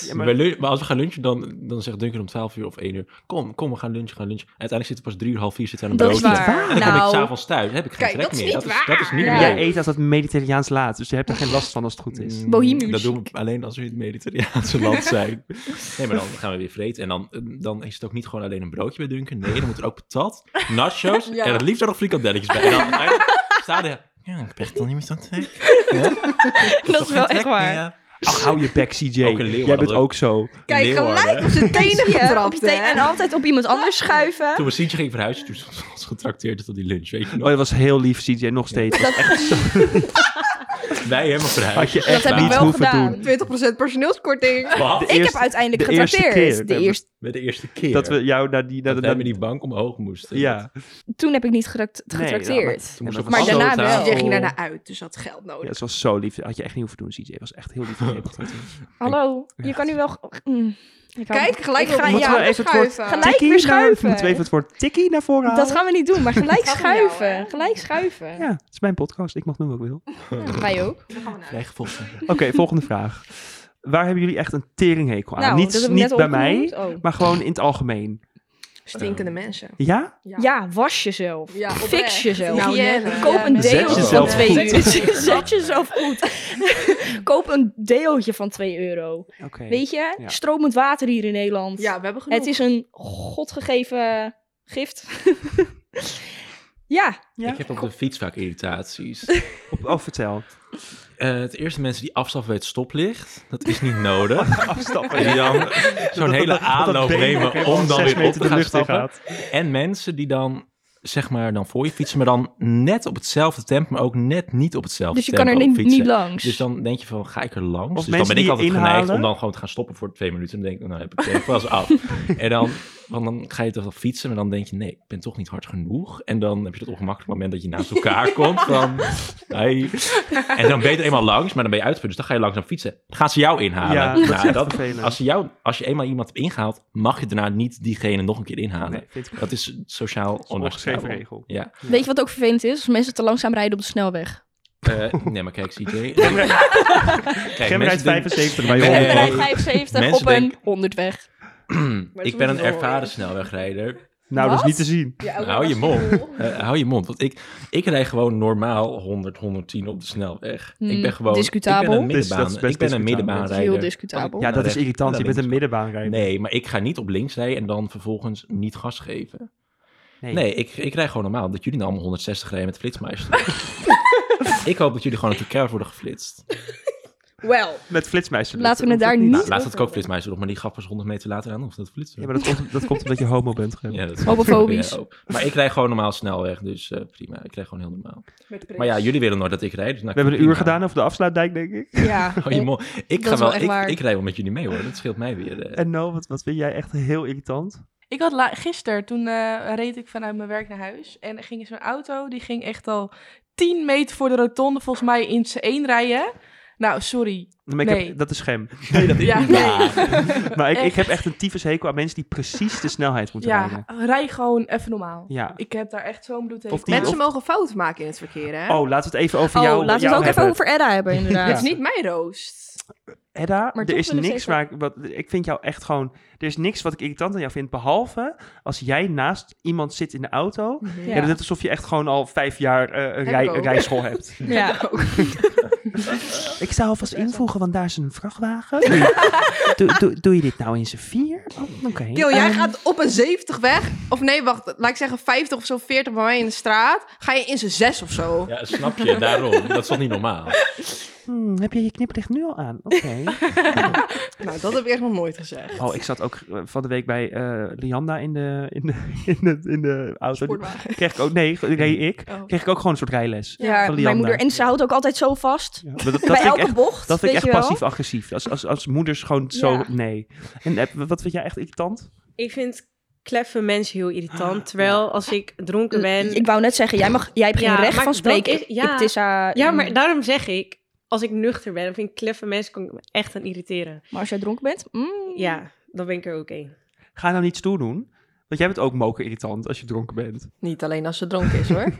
Speaker 2: Ja,
Speaker 3: Maar,
Speaker 2: maar-
Speaker 3: bij lunch- maar als we gaan lunchen, dan, dan zegt Duncan om 12 uur of 1 uur. Kom, kom, we gaan lunchen, gaan lunchen. En uiteindelijk zitten we pas 3 uur, half 4 zitten we aan een
Speaker 1: Dat is
Speaker 3: broodje.
Speaker 1: waar.
Speaker 3: En dan kom
Speaker 1: Nou.
Speaker 3: ik s'avonds thuis, dan heb ik geen
Speaker 6: Kijk,
Speaker 3: trek
Speaker 6: dat is
Speaker 3: meer.
Speaker 6: niet
Speaker 3: dat, is, dat is niet
Speaker 6: waar.
Speaker 3: leuk.
Speaker 1: Ja.
Speaker 2: Jij eet als dat mediterraans laat, dus je hebt er geen last van als het goed is.
Speaker 3: Mm,
Speaker 1: Bohemisch.
Speaker 3: Dat doen we alleen als we in het Mediterraanse land zijn. Nee, maar dan gaan we weer vreten. En dan, dan is het ook niet gewoon alleen een broodje bij Duncan. Nee, dan moet er ook patat, nachos
Speaker 6: Ja.
Speaker 3: en het liefst ook nog frikandelletjes bij. En dan uiteindelijk staan er Ja, ik ben echt al niet meer zo'n trek.
Speaker 8: Dat is wel echt waar.
Speaker 3: Ja.
Speaker 2: Ach, hou je bek, CJ.
Speaker 3: Ook een leeuw
Speaker 2: Jij
Speaker 3: had
Speaker 2: bent
Speaker 3: dat ook.
Speaker 2: ook zo.
Speaker 8: Kijk,
Speaker 3: Leeuwarden.
Speaker 8: gelijk op zijn tenen
Speaker 1: Ja, op
Speaker 8: getrapt.
Speaker 1: je teen-
Speaker 8: hè?
Speaker 1: en altijd op iemand anders schuiven.
Speaker 3: Toen we Sintje ging verhuizen, toen was ons getrakteerd tot die lunch, weet je
Speaker 2: Oh,
Speaker 3: nog?
Speaker 2: dat was heel lief, CJ. Nog steeds. Dat
Speaker 3: Wij helemaal
Speaker 2: had
Speaker 3: verhuisd.
Speaker 2: je echt
Speaker 1: heb ik
Speaker 2: niet
Speaker 1: wel
Speaker 2: hoeven
Speaker 1: gedaan.
Speaker 2: doen.
Speaker 6: 20% personeelskorting.
Speaker 3: Wat?
Speaker 2: De
Speaker 1: ik
Speaker 2: eerste-
Speaker 1: heb uiteindelijk
Speaker 2: de eerste
Speaker 1: getrakteerd.
Speaker 2: keer.
Speaker 1: de eerste,
Speaker 3: Met de eerste keer.
Speaker 2: Dat we jou naar die... Naar
Speaker 3: dat
Speaker 2: de,
Speaker 3: wij
Speaker 2: naar-
Speaker 3: met die bank omhoog moesten.
Speaker 2: ja.
Speaker 1: toen heb ik niet gerakt-
Speaker 2: Nee,
Speaker 1: getrakteerd.
Speaker 2: Toen moest
Speaker 3: Ja,
Speaker 2: je
Speaker 1: maar
Speaker 2: vast
Speaker 1: daarna
Speaker 2: zo
Speaker 1: wel.
Speaker 2: taal.
Speaker 6: Jij ging daarna uit, dus had geld
Speaker 2: Ja,
Speaker 6: nodig.
Speaker 2: het was zo lief. Had je echt niet hoeven doen, CJ. Het was echt heel lief. van je.
Speaker 1: Hallo, je kan nu wel... ge- Mm. Ik hou-
Speaker 6: Kijk, gelijk
Speaker 1: Ik wil-
Speaker 6: ga je
Speaker 2: Moeten we
Speaker 6: handen
Speaker 2: even het woord
Speaker 6: schuiven.
Speaker 1: Gelijk
Speaker 2: tikkie
Speaker 1: weer
Speaker 2: naar-
Speaker 1: schuiven.
Speaker 2: Moeten we even het woord tikkie naar voren halen?
Speaker 1: Dat gaan we niet doen, maar gelijk
Speaker 6: gaat om jou,
Speaker 1: schuiven.
Speaker 6: hè?
Speaker 1: gelijk schuiven.
Speaker 2: Ja, het is mijn podcast. Ik mag doen wat ik wil.
Speaker 1: Ja, wij ook.
Speaker 3: Vrijgevochten.
Speaker 2: Oké, volgende vraag. Waar hebben jullie echt een teringhekel aan?
Speaker 1: Nou,
Speaker 2: Ah, niet
Speaker 1: dat heb ik
Speaker 2: niet
Speaker 1: net
Speaker 2: bij
Speaker 1: opgenoemd.
Speaker 2: mij,
Speaker 1: Oh.
Speaker 2: maar gewoon in het algemeen.
Speaker 6: Stinkende mensen.
Speaker 2: Ja?
Speaker 1: Ja, was jezelf.
Speaker 6: Ja,
Speaker 1: Fix jezelf.
Speaker 6: Nou,
Speaker 1: Hygiëne.
Speaker 5: eh,
Speaker 6: net,
Speaker 1: Koop
Speaker 6: ja,
Speaker 1: een
Speaker 6: net.
Speaker 2: Zet
Speaker 1: deeltje van
Speaker 2: jezelf
Speaker 1: 2
Speaker 2: goed.
Speaker 1: euro. Zet jezelf goed. Koop een deeltje van 2 euro.
Speaker 2: Oké.
Speaker 1: Weet je,
Speaker 2: Ja.
Speaker 1: stromend water hier in Nederland.
Speaker 6: Ja, we hebben genoeg.
Speaker 1: Het is een godgegeven gift. ja,
Speaker 2: Ja.
Speaker 3: Ik heb op de fiets vaak irritaties.
Speaker 2: Op, oh, vertel.
Speaker 3: Eh, het eerste mensen die afstappen bij het stoplicht, dat is niet nodig.
Speaker 2: Afstappen.
Speaker 3: En dan
Speaker 2: Dat-
Speaker 3: zo'n
Speaker 2: dat-
Speaker 3: hele
Speaker 2: dat- dat
Speaker 3: aanloop
Speaker 2: been ook
Speaker 3: nemen
Speaker 2: helemaal
Speaker 3: om dan
Speaker 2: zes
Speaker 3: weer op
Speaker 2: meter
Speaker 3: te
Speaker 2: de
Speaker 3: gaan
Speaker 2: lucht in
Speaker 3: stappen.
Speaker 2: gaat.
Speaker 3: En mensen die dan, zeg maar, dan voor je fietsen, maar dan net op hetzelfde tempo, maar ook net niet op hetzelfde
Speaker 1: dus je
Speaker 3: tempo
Speaker 1: kan er niet,
Speaker 3: fietsen.
Speaker 1: niet langs.
Speaker 3: Dus dan denk je van, ga ik er langs?
Speaker 2: Of
Speaker 3: dus dan
Speaker 2: mensen
Speaker 3: ben ik
Speaker 2: die
Speaker 3: altijd
Speaker 2: je
Speaker 3: geneigd om
Speaker 2: inhalen.
Speaker 3: dan gewoon te gaan stoppen voor twee minuten. En dan denk ik, nou heb ik het pas af. En dan, want dan ga je toch wel fietsen, maar dan denk je, nee, ik ben toch niet hard genoeg. En dan heb je dat ongemakkelijk moment dat je naast elkaar komt. Van, hey. En dan ben je er eenmaal langs, maar dan ben je uitgeput. Dus dan ga je langzaam fietsen. Dan gaan ze jou inhalen.
Speaker 2: Ja, dat is
Speaker 3: Nou,
Speaker 2: echt
Speaker 3: dat-
Speaker 2: vervelend.
Speaker 3: als, je jou, als je eenmaal iemand hebt ingehaald, mag je daarna niet diegene nog een keer inhalen.
Speaker 2: Nee, vind ik
Speaker 3: Dat is sociaal
Speaker 2: een ongeschreven
Speaker 3: onacceptabel.
Speaker 2: regel.
Speaker 3: Ja.
Speaker 1: Weet je wat ook vervelend is? Als mensen te langzaam rijden op de snelweg.
Speaker 3: Eh, nee, maar kijk, CJ. Kijk,
Speaker 2: Gemrijd
Speaker 3: mensen denken-
Speaker 2: 75 bij
Speaker 3: Nee,
Speaker 2: jongen.
Speaker 3: nee, nee.
Speaker 1: Rijdt 75
Speaker 3: Mensen
Speaker 1: op een
Speaker 3: denken-
Speaker 1: 100 weg.
Speaker 3: Hm. ik ben een ervaren snelwegrijder.
Speaker 2: Nou, dat is
Speaker 1: Wat?
Speaker 2: niet te zien.
Speaker 3: hou je mond. Eh, hou je mond. Want ik, ik rij gewoon normaal 100, 110 op de snelweg.
Speaker 1: Hmm,
Speaker 3: ik ben gewoon. Ik
Speaker 1: discutabel.
Speaker 3: ben een
Speaker 2: Dus dat
Speaker 3: middenbaan.
Speaker 2: is
Speaker 3: ik ben
Speaker 2: best
Speaker 3: een
Speaker 2: discutabel.
Speaker 3: middenbaanrijder.
Speaker 1: Heel discutabel.
Speaker 2: Ja, dat is
Speaker 3: rechts-
Speaker 2: irritant. Je
Speaker 3: naar
Speaker 2: bent een
Speaker 3: links.
Speaker 2: middenbaanrijder.
Speaker 3: Nee, maar ik ga niet op links rijden en dan vervolgens niet gas geven.
Speaker 2: Nee.
Speaker 3: Nee, ik, ik rij gewoon normaal. Dat jullie dan allemaal 160 rijden met flitsmeister. ik hoop dat jullie gewoon natuurlijk elkaar worden geflitst.
Speaker 6: Wel.
Speaker 2: Met flitsmeister.
Speaker 1: Laten we het daar
Speaker 2: niet.
Speaker 1: niet
Speaker 3: Nou, laatst had ik ook flitsmeister nog, maar die gaf pas 100 meter later aan of dat flitst.
Speaker 2: Ja, maar dat komt, dat komt omdat je homo bent. Gem.
Speaker 3: Ja, dat is-
Speaker 1: Homofobisch.
Speaker 3: Ja, ook. maar ik rij gewoon normaal snelweg, dus eh, prima. Ik rij gewoon heel normaal. Maar ja, jullie willen nooit dat ik rijd. Dus nou,
Speaker 2: We hebben een uur
Speaker 3: prima.
Speaker 2: gedaan over de afsluitdijk, denk ik.
Speaker 1: Ja,
Speaker 3: Oh, je mo- ik,
Speaker 1: is
Speaker 3: ga
Speaker 1: wel
Speaker 3: wel,
Speaker 1: echt
Speaker 3: ik,
Speaker 1: waar.
Speaker 3: ik rij wel met jullie mee hoor, dat scheelt mij weer. eh.
Speaker 2: En No, wat, wat vind jij echt heel irritant?
Speaker 5: Ik had la- gisteren, toen eh, reed ik vanuit mijn werk naar huis. En er ging zo'n auto, die ging echt al 10 meter voor de rotonde volgens mij in zijn één rijden. Nou, sorry.
Speaker 2: Maar ik heb-
Speaker 5: Nee.
Speaker 2: dat is Gem.
Speaker 5: Ja,
Speaker 2: Maar ik, ik
Speaker 5: Echt.
Speaker 2: heb echt een tyfushekel aan mensen die precies de snelheid moeten
Speaker 5: ja
Speaker 2: rijden.
Speaker 5: rij gewoon even normaal.
Speaker 2: Ja.
Speaker 5: Ik heb daar echt zo'n bloedhekel
Speaker 2: Of die-
Speaker 5: aan.
Speaker 6: Mensen mogen fouten maken in het verkeer, hè?
Speaker 2: Oh, laten we het even over
Speaker 1: Oh,
Speaker 2: jou
Speaker 1: laten we
Speaker 2: jou
Speaker 1: het ook even
Speaker 2: hebben.
Speaker 1: over Edda hebben, inderdaad.
Speaker 6: Het is niet mijn roost.
Speaker 2: Edda,
Speaker 1: Maar
Speaker 2: er
Speaker 1: toch
Speaker 2: is
Speaker 1: wil ik
Speaker 2: niks
Speaker 1: zeggen-
Speaker 2: waar ik, wat, ik vind jou echt gewoon, er is niks wat ik irritant aan jou vind, behalve als jij naast iemand zit in de auto en het is alsof je echt gewoon al vijf jaar eh, een,
Speaker 6: ik
Speaker 2: rij,
Speaker 6: ook.
Speaker 2: een rijschool hebt.
Speaker 1: Ja.
Speaker 2: Ik zou alvast invoegen, want daar is een vrachtwagen. doe, doe, doe je dit nou in z'n vier? Oh, Oké.
Speaker 6: Kiel,
Speaker 1: Ehm.
Speaker 6: jij gaat op een 70 weg. Of nee, wacht. Laat ik zeggen 50 of zo, 40 bij mij in de straat. Ga je in zijn 6 of zo.
Speaker 3: Ja, snap je, daarom. Dat is toch niet normaal?
Speaker 2: Hmm, heb je je kniplicht nu al aan? Oké.
Speaker 6: Nou, dat heb ik echt nog nooit gezegd.
Speaker 2: Oh, ik zat ook eh, van de week bij eh Lianda in de, in de, in de, in de auto.
Speaker 6: Sportwagen.
Speaker 2: Kreeg ik ook, nee, reed ik.
Speaker 6: Oh.
Speaker 2: Kreeg ik ook gewoon een soort rijles.
Speaker 1: Ja,
Speaker 2: Van
Speaker 1: mijn
Speaker 2: Lianda.
Speaker 1: moeder. En ze houdt ook altijd zo vast.
Speaker 2: Ja, maar dat, dat
Speaker 1: Bij
Speaker 2: vind ik
Speaker 1: elke
Speaker 2: echt-
Speaker 1: bocht.
Speaker 2: Dat vind ik
Speaker 1: weet
Speaker 2: echt
Speaker 1: je wel?
Speaker 2: passief-agressief. Als, als, als moeders gewoon zo...
Speaker 1: Ja.
Speaker 2: Nee. En eh, wat vind jij echt irritant?
Speaker 4: Ik vind kleffe mensen heel irritant. Terwijl als ik dronken ben...
Speaker 1: Ik wou net zeggen, jij, mag, jij hebt geen
Speaker 4: Ja,
Speaker 1: recht
Speaker 4: maar
Speaker 1: van
Speaker 4: dat
Speaker 1: spreken.
Speaker 4: is- ja.
Speaker 1: Ik- mm, het is haar-
Speaker 4: Ja, maar daarom zeg ik... Als ik nuchter ben, dan vind ik kleffe mensen kan ik me echt aan irriteren.
Speaker 1: Maar als jij dronken bent, mm,
Speaker 4: Ja, dan ben ik er ook één.
Speaker 2: Ga nou niet stoer doen. Want jij bent ook moker irritant als je dronken bent.
Speaker 6: Niet alleen als ze dronken is, hoor.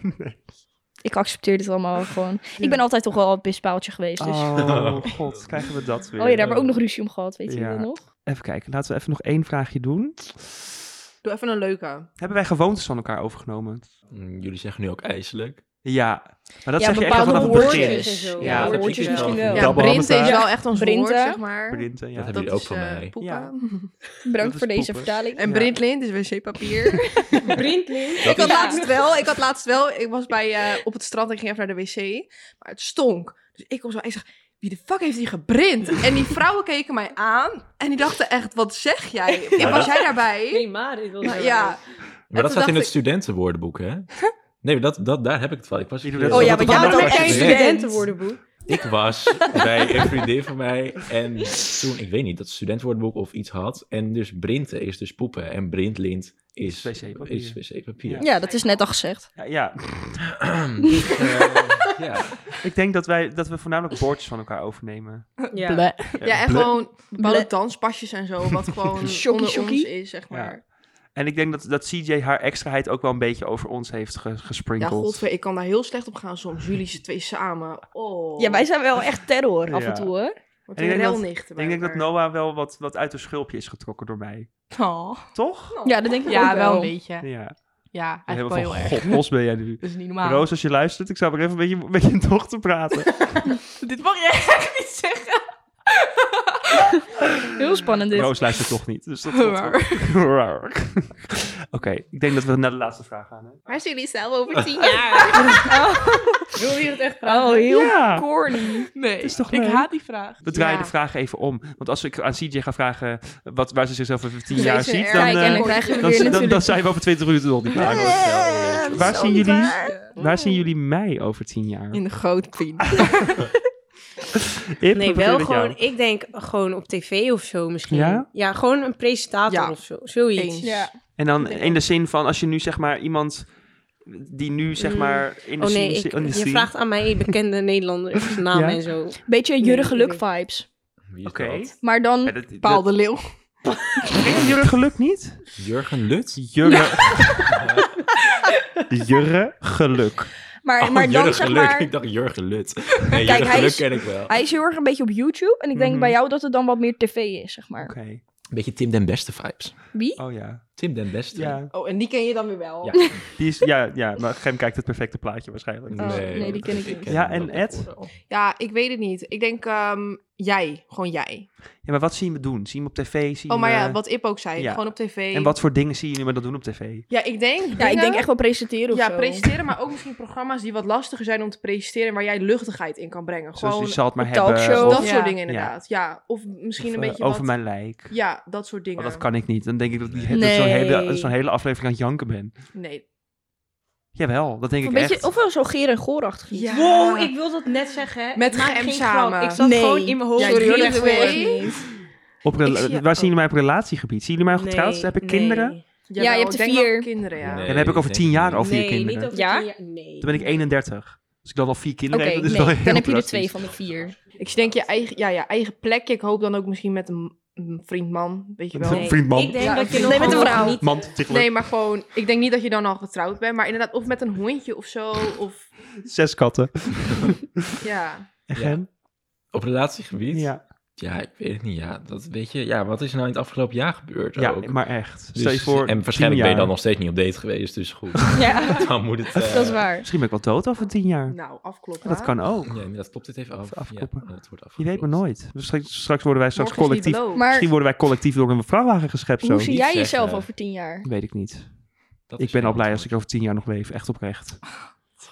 Speaker 1: ik accepteer dit allemaal gewoon. Ik ben altijd toch wel het bispaaltje geweest. Dus. Oh,
Speaker 2: Oh god, krijgen we dat weer.
Speaker 1: ja, daar hebben we ook nog ruzie om gehad, weet je
Speaker 2: Ja.
Speaker 1: dat nog?
Speaker 2: Even kijken, laten we even nog één vraagje doen.
Speaker 6: Doe even een leuke.
Speaker 2: Hebben wij gewoontes van elkaar overgenomen?
Speaker 3: Mm, Jullie zeggen nu ook ijselijk.
Speaker 2: Ja, maar dat
Speaker 1: Ja,
Speaker 2: zeg je echt al
Speaker 1: bepaalde
Speaker 2: vanaf het
Speaker 1: woordjes
Speaker 2: begin.
Speaker 1: en
Speaker 4: zo.
Speaker 2: Ja, dat
Speaker 1: Woordjes
Speaker 2: vind ik
Speaker 1: misschien wel.
Speaker 2: Ja,
Speaker 6: Ja, Brinte is
Speaker 2: Brinte.
Speaker 6: wel echt ons woord,
Speaker 1: Brinte.
Speaker 6: zeg maar.
Speaker 2: Brinte, ja.
Speaker 3: Dat
Speaker 6: Dat
Speaker 3: hebben jullie
Speaker 6: is
Speaker 3: ook van
Speaker 6: eh,
Speaker 3: mij.
Speaker 6: poepa.
Speaker 2: Ja.
Speaker 1: Bedankt
Speaker 2: is
Speaker 1: voor deze
Speaker 2: poppen.
Speaker 1: vertaling.
Speaker 6: En
Speaker 2: Ja.
Speaker 6: Brintlint is wc-papier.
Speaker 4: Brindling.
Speaker 6: ik, had laatst wel, ik had laatst wel, ik was bij, eh, op het strand en ging even naar de wc. Maar het stonk. Dus ik kom zo en ik zeg, wie de fuck heeft die geprint? En die vrouwen keken mij aan en die dachten echt, wat zeg jij? Was jij daarbij?
Speaker 4: Nee, maar dit was
Speaker 6: Nou,
Speaker 4: wel-
Speaker 6: ja,
Speaker 3: Maar
Speaker 6: toen
Speaker 3: dat staat in
Speaker 6: dacht
Speaker 3: het
Speaker 6: ik-
Speaker 3: studentenwoordenboek, hè? Nee, dat, dat, daar heb ik het van. Ik was,
Speaker 2: Jullie doen
Speaker 1: Oh
Speaker 2: dat
Speaker 1: ja,
Speaker 2: op
Speaker 1: want
Speaker 2: de
Speaker 1: jij bent ook
Speaker 2: bank
Speaker 1: echt
Speaker 2: zitten.
Speaker 3: Nee.
Speaker 1: studentenwoordenboek.
Speaker 3: ik was bij een vriendin van mij en toen, ik weet niet, dat studentenwoordenboek of iets had. En dus Brinte is dus poepen en Brintlint is
Speaker 2: Is wc-papier.
Speaker 3: is wc-papier.
Speaker 2: Ja.
Speaker 8: Ja, dat is net al gezegd.
Speaker 2: Ja, ja,
Speaker 3: Dus, eh, ja.
Speaker 2: ik denk dat, wij, dat we voornamelijk woordjes van elkaar overnemen.
Speaker 4: Ja.
Speaker 8: Bleh.
Speaker 6: ja, en
Speaker 2: Ble-
Speaker 6: gewoon bepaalde
Speaker 1: Ble-
Speaker 6: danspasjes en zo, wat gewoon
Speaker 1: Shokkie,
Speaker 6: onder ons
Speaker 1: shokkie.
Speaker 6: is, zeg maar.
Speaker 2: En ik denk dat, dat CJ haar extraheid ook wel een beetje over ons heeft ge-
Speaker 6: Ja,
Speaker 2: gesprinkeld.
Speaker 6: godver, ik kan daar heel slecht op gaan soms. Jullie ze twee samen. Oh.
Speaker 1: Ja, wij zijn wel echt terror af
Speaker 2: Ja.
Speaker 1: en toe, hoor.
Speaker 6: Wat
Speaker 2: En ik
Speaker 6: een
Speaker 2: denk dat-
Speaker 6: relnichten bij
Speaker 2: ik denk dat
Speaker 6: elkaar.
Speaker 2: Noah wel wat, wat uit de schulpje is getrokken door mij.
Speaker 5: Oh.
Speaker 2: Toch?
Speaker 1: Ja, dat denk ik
Speaker 5: Ja,
Speaker 1: ook
Speaker 5: wel een
Speaker 1: wel.
Speaker 5: beetje.
Speaker 2: Ja.
Speaker 5: Ja,
Speaker 2: Heel
Speaker 5: eigenlijk wel
Speaker 2: van,
Speaker 5: heel erg.
Speaker 2: god, Mos ben jij nu.
Speaker 5: Dat is niet normaal.
Speaker 2: Roos, als je luistert, ik zou maar even een beetje met je dochter praten.
Speaker 5: Dit mag je echt niet zeggen.
Speaker 8: Heel spannend dit.
Speaker 2: Roos luistert toch niet. Dus dat komt wel. Raar. Oké, ik denk dat we naar de laatste vraag gaan. Hè?
Speaker 6: Waar zijn jullie zelf over tien
Speaker 4: Wil je het echt
Speaker 1: Oh, heel
Speaker 2: Ja.
Speaker 1: corny.
Speaker 5: Nee,
Speaker 2: Ah. Is toch
Speaker 5: ik
Speaker 2: leuk?
Speaker 5: haat die vraag.
Speaker 2: We draaien
Speaker 6: Ja.
Speaker 2: de vraag even om. Want als ik aan CJ ga vragen wat, waar ze zichzelf over 10
Speaker 6: Deze
Speaker 2: jaar ziet,
Speaker 6: erg.
Speaker 2: dan,
Speaker 6: Kijk,
Speaker 2: eh,
Speaker 8: en
Speaker 6: dan
Speaker 8: dan krijgen we
Speaker 2: dan,
Speaker 8: weer
Speaker 2: dan, dan,
Speaker 8: natuurlijk...
Speaker 2: zijn we over 20 minuten nog niet klaar. waar, zien jullie, waar zien jullie mij over 10 jaar?
Speaker 6: In de groot pien.
Speaker 2: Ip,
Speaker 4: Nee,
Speaker 2: wat
Speaker 4: wel
Speaker 2: bedoel ik jou?
Speaker 4: gewoon, ik denk gewoon op tv of zo misschien.
Speaker 2: Ja?
Speaker 4: Ja, gewoon een presentator
Speaker 6: Ja.
Speaker 4: of zo, zoiets.
Speaker 6: Eens. Ja.
Speaker 2: En dan in de zin van als je nu zeg maar iemand die nu zeg
Speaker 4: Mm.
Speaker 2: maar in de
Speaker 4: Oh nee,
Speaker 2: scene-
Speaker 4: ik,
Speaker 2: in de
Speaker 4: je
Speaker 2: scene-
Speaker 4: vraagt aan mij bekende Nederlander zijn naam
Speaker 2: Ja?
Speaker 4: en zo.
Speaker 1: Beetje Jurre
Speaker 4: Nee,
Speaker 1: Geluk
Speaker 4: ik
Speaker 1: vibes.
Speaker 3: Wie is
Speaker 2: Oké.
Speaker 3: dat?
Speaker 1: Maar
Speaker 2: Ja,
Speaker 1: dan...
Speaker 2: dat- dat-
Speaker 6: Paal de Leeuw.
Speaker 2: Ken je Jurre Geluk niet?
Speaker 3: Jurgen Lut?
Speaker 2: Jurre. Jurre Geluk.
Speaker 1: Maar,
Speaker 3: Oh,
Speaker 1: maar dan
Speaker 3: Jurgen
Speaker 1: zeg
Speaker 3: Geluk.
Speaker 1: maar...
Speaker 3: Ik dacht Jurgen Lut. Nee,
Speaker 1: hij
Speaker 3: Jurgen Geluk
Speaker 1: is-
Speaker 3: ken ik wel.
Speaker 1: Hij is heel erg een beetje op YouTube. En ik denk
Speaker 2: Mhm.
Speaker 1: bij jou dat het dan wat meer tv is, zeg maar.
Speaker 2: Oké.
Speaker 3: Beetje Tim den Beste vibes.
Speaker 1: Wie?
Speaker 2: Oh ja.
Speaker 3: Tim den Beste?
Speaker 2: Ja.
Speaker 6: Oh, en die ken je dan weer wel.
Speaker 3: Ja.
Speaker 2: Die is, ja, ja, maar Gem kijkt het perfecte plaatje waarschijnlijk.
Speaker 1: Oh, nee, die ken ik niet.
Speaker 2: Ja,
Speaker 3: hem
Speaker 2: en
Speaker 3: wel
Speaker 2: Ed?
Speaker 3: daarvoor wel.
Speaker 6: Ja, ik weet het niet. Ik denk ehm, jij. Gewoon jij.
Speaker 2: Ja, maar wat zien we doen? Zien we op tv? Zien
Speaker 6: Oh, maar
Speaker 2: we-
Speaker 6: ja, wat Ip ook zei.
Speaker 2: eh, ja.
Speaker 6: Gewoon op tv.
Speaker 2: En wat voor dingen zien jullie me dan doen op tv?
Speaker 6: Ja, ik denk...
Speaker 1: Ja, ik denk echt wel presenteren of
Speaker 6: Ja,
Speaker 1: zo.
Speaker 6: presenteren, maar ook misschien programma's die wat lastiger zijn om te presenteren, waar jij luchtigheid in kan brengen.
Speaker 2: Zoals
Speaker 6: Gewoon
Speaker 2: je zal het maar
Speaker 1: een
Speaker 2: hebben.
Speaker 1: talkshow.
Speaker 2: Eh, of-
Speaker 6: dat
Speaker 2: of,
Speaker 5: Ja.
Speaker 6: soort dingen inderdaad. Ja, of misschien een
Speaker 2: eh,
Speaker 6: beetje
Speaker 2: over
Speaker 6: wat...
Speaker 2: mijn lijk.
Speaker 6: Ja, dat soort dingen.
Speaker 2: Oh, dat kan ik niet. Dan denk ik dat, die- dat
Speaker 1: Nee.
Speaker 2: zo'n hele, zo'n hele aflevering aan het janken ben.
Speaker 6: Nee.
Speaker 2: Jawel, dat denk
Speaker 1: Of, een
Speaker 2: ik
Speaker 1: beetje,
Speaker 2: echt.
Speaker 1: of wel zo geer en goorachtig. iets.
Speaker 6: Ja.
Speaker 4: Wow, ik wil dat net zeggen. hè.
Speaker 6: Met
Speaker 4: Maak
Speaker 6: Gem
Speaker 4: geen
Speaker 6: samen.
Speaker 4: grap. Ik zat
Speaker 1: Nee.
Speaker 4: gewoon in mijn hoofd.
Speaker 6: Ja,
Speaker 4: Sorry, hoor,
Speaker 6: drie
Speaker 4: dat
Speaker 6: of twee.
Speaker 4: wil ik niet.
Speaker 2: Op rela-
Speaker 6: Ik zie-
Speaker 2: waar
Speaker 6: oh.
Speaker 2: zien jullie mij op relatiegebied? Zien jullie mij nog
Speaker 4: Nee,
Speaker 2: getrouwd? Heb ik
Speaker 4: nee.
Speaker 2: kinderen?
Speaker 6: Jawel,
Speaker 1: Ja, je hebt
Speaker 6: ik
Speaker 1: er
Speaker 6: denk wel
Speaker 1: vier.
Speaker 6: kinderen, ja.
Speaker 2: En dan heb ik over
Speaker 3: denk
Speaker 2: tien jaar
Speaker 3: niet.
Speaker 2: al vier
Speaker 4: nee,
Speaker 2: kinderen.
Speaker 4: Niet over
Speaker 1: Ja?
Speaker 4: tien jaar- Nee.
Speaker 2: Dan ben ik 31. Als ik dan al vier
Speaker 1: Oké,
Speaker 2: kinderen heb, dat is
Speaker 1: nee,
Speaker 2: wel heel
Speaker 1: dan heb je er
Speaker 2: drastisch.
Speaker 1: twee van de vier.
Speaker 6: Ik denk je eigen, ja, ja, eigen plekje. Ik hoop dan ook misschien met een, een vriend man, weet je wel.
Speaker 2: Nee. Vriend, man.
Speaker 4: Ik denk
Speaker 6: Ja,
Speaker 4: dat je
Speaker 6: vriend.
Speaker 4: nog
Speaker 1: Nee, met een
Speaker 4: gewoon
Speaker 1: vrouw.
Speaker 4: Niet,
Speaker 2: Man, tegen
Speaker 6: Nee, maar gewoon, ik denk niet dat je dan al getrouwd bent, maar inderdaad, of met een hondje of zo, of
Speaker 2: zes katten.
Speaker 6: ja.
Speaker 2: En
Speaker 3: Ja.
Speaker 2: Gem?
Speaker 3: Op relatiegebied? Ja.
Speaker 2: Ja,
Speaker 3: ik weet het niet. Ja, dat weet je. Ja, wat is er nou in het afgelopen jaar gebeurd
Speaker 2: ja,
Speaker 3: ook?
Speaker 2: maar echt.
Speaker 3: Dus-
Speaker 2: Stel je voor,
Speaker 3: en
Speaker 2: tien
Speaker 3: waarschijnlijk
Speaker 2: jaar.
Speaker 3: ben je dan nog steeds niet op date geweest, dus goed.
Speaker 1: Ja,
Speaker 3: dan moet het... eh,
Speaker 1: dat is waar.
Speaker 2: Misschien ben ik wel dood over tien jaar.
Speaker 6: Nou, afkloppen.
Speaker 2: Dat kan ook.
Speaker 3: Ja, nee, dat klopt dit even af.
Speaker 2: afkloppen.
Speaker 3: Ja, dat wordt
Speaker 2: Je weet maar
Speaker 3: afgeklopt.
Speaker 2: nooit. Straks, straks worden wij straks
Speaker 6: Morgen is niet
Speaker 2: collectief...
Speaker 6: beloofd.
Speaker 1: Maar
Speaker 2: Misschien worden wij collectief door een vrachtwagen geschept zo.
Speaker 1: hoe zie
Speaker 3: niet
Speaker 1: jij
Speaker 3: zeggen.
Speaker 1: jezelf over tien jaar?
Speaker 2: Weet ik niet.
Speaker 3: Dat
Speaker 2: Ik
Speaker 3: is
Speaker 2: ben al
Speaker 3: geen
Speaker 2: blij als ik
Speaker 3: antwoord.
Speaker 2: over tien jaar nog leef. Echt oprecht.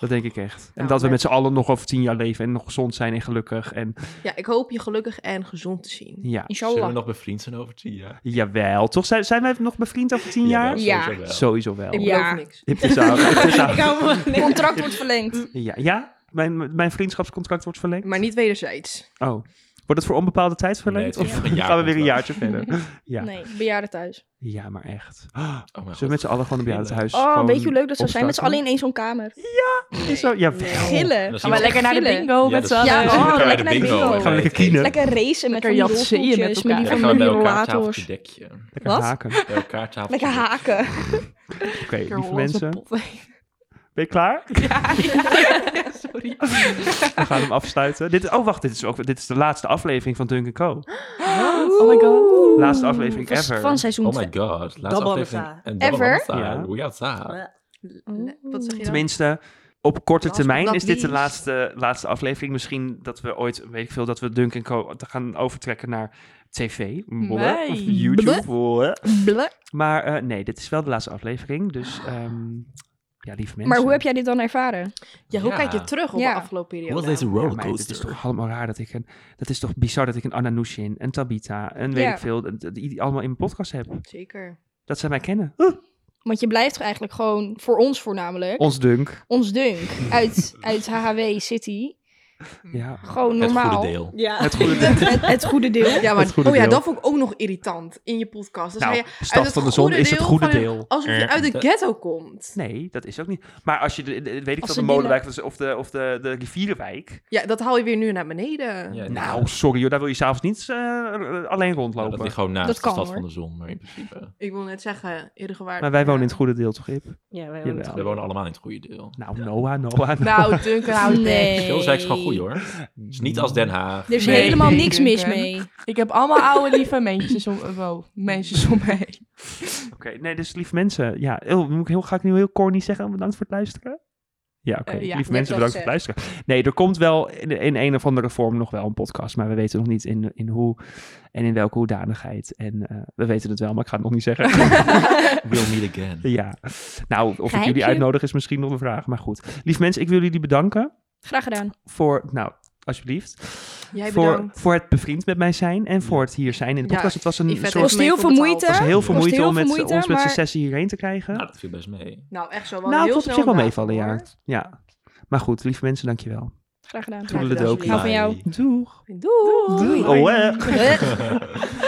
Speaker 2: Dat denk ik echt. En
Speaker 6: Nou,
Speaker 2: dat we
Speaker 6: net.
Speaker 2: met z'n allen nog over tien jaar leven en nog gezond zijn en gelukkig. En
Speaker 6: Ja, ik hoop je gelukkig en gezond te zien.
Speaker 2: ja,
Speaker 3: Zullen we
Speaker 1: Inshallah.
Speaker 3: nog bevriend zijn over tien jaar?
Speaker 2: jawel. Toch zijn, zijn wij nog bevriend over tien jaar?
Speaker 3: wel,
Speaker 1: Ja.
Speaker 3: sowieso wel.
Speaker 2: Sowieso wel.
Speaker 6: Ik
Speaker 1: Ja.
Speaker 6: beloof niks.
Speaker 2: Hip is out, hip is out.
Speaker 1: Contract wordt verlengd.
Speaker 2: Ja, ja? Mijn, mijn vriendschapscontract wordt verlengd.
Speaker 6: Maar niet wederzijds.
Speaker 2: Oh. Wordt het voor onbepaalde tijd
Speaker 3: Nee,
Speaker 2: verlengd?
Speaker 3: het is
Speaker 2: of
Speaker 3: nog een jaar
Speaker 2: gaan we weer een
Speaker 3: contract.
Speaker 2: jaartje verder? Ja,
Speaker 1: Nee, bejaarden thuis.
Speaker 2: ja maar echt. Oh,
Speaker 3: Oh mijn
Speaker 2: Zullen we met z'n allen gewoon een bejaardentehuis
Speaker 1: Oh,
Speaker 2: Dus gewoon
Speaker 1: weet je hoe leuk dat zou zijn? Met z'n
Speaker 2: opstarten?
Speaker 1: allen
Speaker 2: oh,
Speaker 1: in één zo'n kamer.
Speaker 2: Is zo, ja,
Speaker 1: Gillen.
Speaker 3: Dan zien
Speaker 5: Gaan we
Speaker 3: we-
Speaker 5: lekker naar de
Speaker 1: Gillen.
Speaker 5: bingo
Speaker 3: Ja,
Speaker 5: met
Speaker 3: dat
Speaker 5: z'n
Speaker 3: is-
Speaker 1: Ja,
Speaker 5: allen.
Speaker 1: oh,
Speaker 3: Gaan we
Speaker 1: lekker naar de bingo.
Speaker 2: Gaan we lekker kienen.
Speaker 1: Lekker racen met
Speaker 5: Lekker
Speaker 1: van die
Speaker 5: jatseën met
Speaker 1: rolstoeltjes, met die
Speaker 5: elkaar.
Speaker 1: van
Speaker 3: Ja,
Speaker 1: die
Speaker 3: gaan we bij elkaar
Speaker 1: rollators.
Speaker 3: tafeltje dekje.
Speaker 2: Lekker
Speaker 1: Wat?
Speaker 2: haken.
Speaker 3: Bij elkaar tafeltje
Speaker 1: Lekker
Speaker 3: dekje.
Speaker 1: haken.
Speaker 2: Oké, lieve mensen. Ben je klaar?
Speaker 5: Sorry.
Speaker 2: We gaan hem afsluiten. Dit, oh, wacht. Dit is, ook, dit is de laatste aflevering van Duncan Co.
Speaker 5: Oh my god.
Speaker 2: Laatste aflevering
Speaker 1: Van-
Speaker 2: ever.
Speaker 1: Van seizoen
Speaker 3: Oh
Speaker 1: 2.
Speaker 3: my god. Laatste
Speaker 4: Double
Speaker 3: aflevering.
Speaker 4: Hamza.
Speaker 3: Een double
Speaker 1: Ever?
Speaker 3: Hamza.
Speaker 2: Ja.
Speaker 1: Oh.
Speaker 3: Hoe gaat dat?
Speaker 6: Wat zeg je dan?
Speaker 2: Tenminste, op korte
Speaker 6: Last but
Speaker 2: termijn
Speaker 6: not
Speaker 2: is dit de
Speaker 6: least.
Speaker 2: laatste, laatste aflevering. Misschien dat we ooit, weet ik veel, dat we Dunk Co. te gaan overtrekken naar tv. bleh,
Speaker 5: Nee.
Speaker 2: Of YouTube. bleh.
Speaker 8: Bleh.
Speaker 2: Maar eh, nee, dit is wel de laatste aflevering. Dus ehm, ja, lieve mensen.
Speaker 1: Maar hoe heb jij dit dan ervaren?
Speaker 6: Ja, hoe
Speaker 3: Ja.
Speaker 6: kijk je terug op
Speaker 1: Ja.
Speaker 6: de afgelopen periode?
Speaker 3: Wat is deze
Speaker 2: Ja, maar het is
Speaker 3: rollercoaster?
Speaker 2: toch allemaal raar dat ik een... Dat is toch bizar dat ik een Ananushin, een Tabita, een weet
Speaker 1: Ja.
Speaker 2: ik veel... dat- dat- Die allemaal in mijn podcast heb.
Speaker 6: Zeker.
Speaker 2: Dat zij mij kennen.
Speaker 1: Want je blijft eigenlijk gewoon, voor ons voornamelijk,
Speaker 2: Ons Dunk.
Speaker 1: ons dunk uit, uit HHW City.
Speaker 2: Ja.
Speaker 1: Gewoon
Speaker 3: het
Speaker 1: normaal.
Speaker 3: goede deel.
Speaker 4: Ja.
Speaker 2: Het goede deel.
Speaker 1: Het, het goede deel.
Speaker 6: Ja,
Speaker 2: Het
Speaker 6: maar
Speaker 2: goede
Speaker 6: oh ja,
Speaker 2: deel.
Speaker 6: dat vond ik ook nog irritant in je podcast. Dan
Speaker 2: Nou,
Speaker 6: zei je, uit
Speaker 2: Stad
Speaker 6: het
Speaker 2: van de Zon
Speaker 6: goede
Speaker 2: is het
Speaker 6: deel
Speaker 2: goede
Speaker 6: van-
Speaker 2: deel.
Speaker 6: alsof je
Speaker 3: Eh,
Speaker 6: uit de
Speaker 3: dat-
Speaker 6: ghetto komt.
Speaker 2: Nee, dat is ook niet. Maar als je, de, de- weet
Speaker 1: Als
Speaker 2: ik dat
Speaker 1: ze
Speaker 2: de Molenwijk was of de, of de, de Rivierenwijk.
Speaker 6: Ja, dat haal je weer nu naar beneden.
Speaker 3: Ja,
Speaker 2: Nou, sorry hoor, daar wil je s'avonds niet eh, alleen
Speaker 3: Ja, dat
Speaker 2: rondlopen.
Speaker 3: ligt gewoon naast
Speaker 1: Dat
Speaker 3: de
Speaker 1: kan,
Speaker 3: stad van
Speaker 1: hoor.
Speaker 3: de zon, maar in principe.
Speaker 6: Ik wil net zeggen, eerder gewaard.
Speaker 2: maar wij wonen in het goede deel, toch, Rip?
Speaker 4: Ja, wij
Speaker 2: Jawel.
Speaker 3: We wonen allemaal in het goede deel.
Speaker 2: Nou, Noah, Noah, Noah.
Speaker 5: Nou, Duncan houdt nee.
Speaker 1: Nee.
Speaker 3: Schilderswijk is gewoon goed hoor. Het is niet als Den Haag.
Speaker 1: Er is
Speaker 5: Nee,
Speaker 1: helemaal
Speaker 5: nee,
Speaker 1: niks
Speaker 5: Duncan.
Speaker 1: mis mee.
Speaker 5: Ik heb allemaal oude lieve mensen om, eh, wow, mensen om me heen.
Speaker 2: Oké, nee, dus lief mensen. Ja, heel, moet ik heel, ga ik nu heel corny zeggen, bedankt voor het luisteren? Ja, oké.
Speaker 5: Eh, ja,
Speaker 2: lief
Speaker 1: je hebt
Speaker 2: mensen,
Speaker 1: wel
Speaker 2: bedankt voor het luisteren. Nee, er komt wel in, in een of andere vorm nog wel een podcast, maar we weten nog niet in, in hoe en in welke hoedanigheid. En eh, we weten het wel, maar ik ga het nog niet zeggen.
Speaker 3: We'll meet again.
Speaker 2: ja, nou, of ik jullie
Speaker 1: Geheimje.
Speaker 2: uitnodig is misschien nog een vraag, maar goed. Lief mensen, ik wil jullie bedanken.
Speaker 1: Graag gedaan.
Speaker 2: voor, nou, alsjeblieft.
Speaker 6: Jij
Speaker 2: voor,
Speaker 6: bedankt.
Speaker 2: voor het bevriend met mij zijn en voor het hier zijn in de
Speaker 6: Ja,
Speaker 2: podcast. het was een
Speaker 6: Yvette
Speaker 2: soort.
Speaker 6: heeft
Speaker 1: kost
Speaker 6: mee
Speaker 1: heel veel
Speaker 6: voor betaald.
Speaker 1: moeite.
Speaker 2: was heel veel
Speaker 1: kost
Speaker 2: moeite
Speaker 1: heel
Speaker 2: om
Speaker 1: veel
Speaker 2: met,
Speaker 1: moeite,
Speaker 2: ons met z'n
Speaker 1: maar-
Speaker 2: zessen hierheen te krijgen.
Speaker 3: Nou, dat viel best mee.
Speaker 6: Nou, echt zo. wel
Speaker 2: nou,
Speaker 6: heel
Speaker 2: het was op
Speaker 6: snel
Speaker 2: zich wel
Speaker 6: aan
Speaker 2: meevallen,
Speaker 6: tafel,
Speaker 2: ja. ja. Maar goed, lieve mensen, dankjewel.
Speaker 1: Graag gedaan. Nou,
Speaker 2: Toedeledokie.
Speaker 1: Hou van jou.
Speaker 2: Doeg.
Speaker 6: hoor. Doei.
Speaker 2: Oh, hè.
Speaker 1: Doei.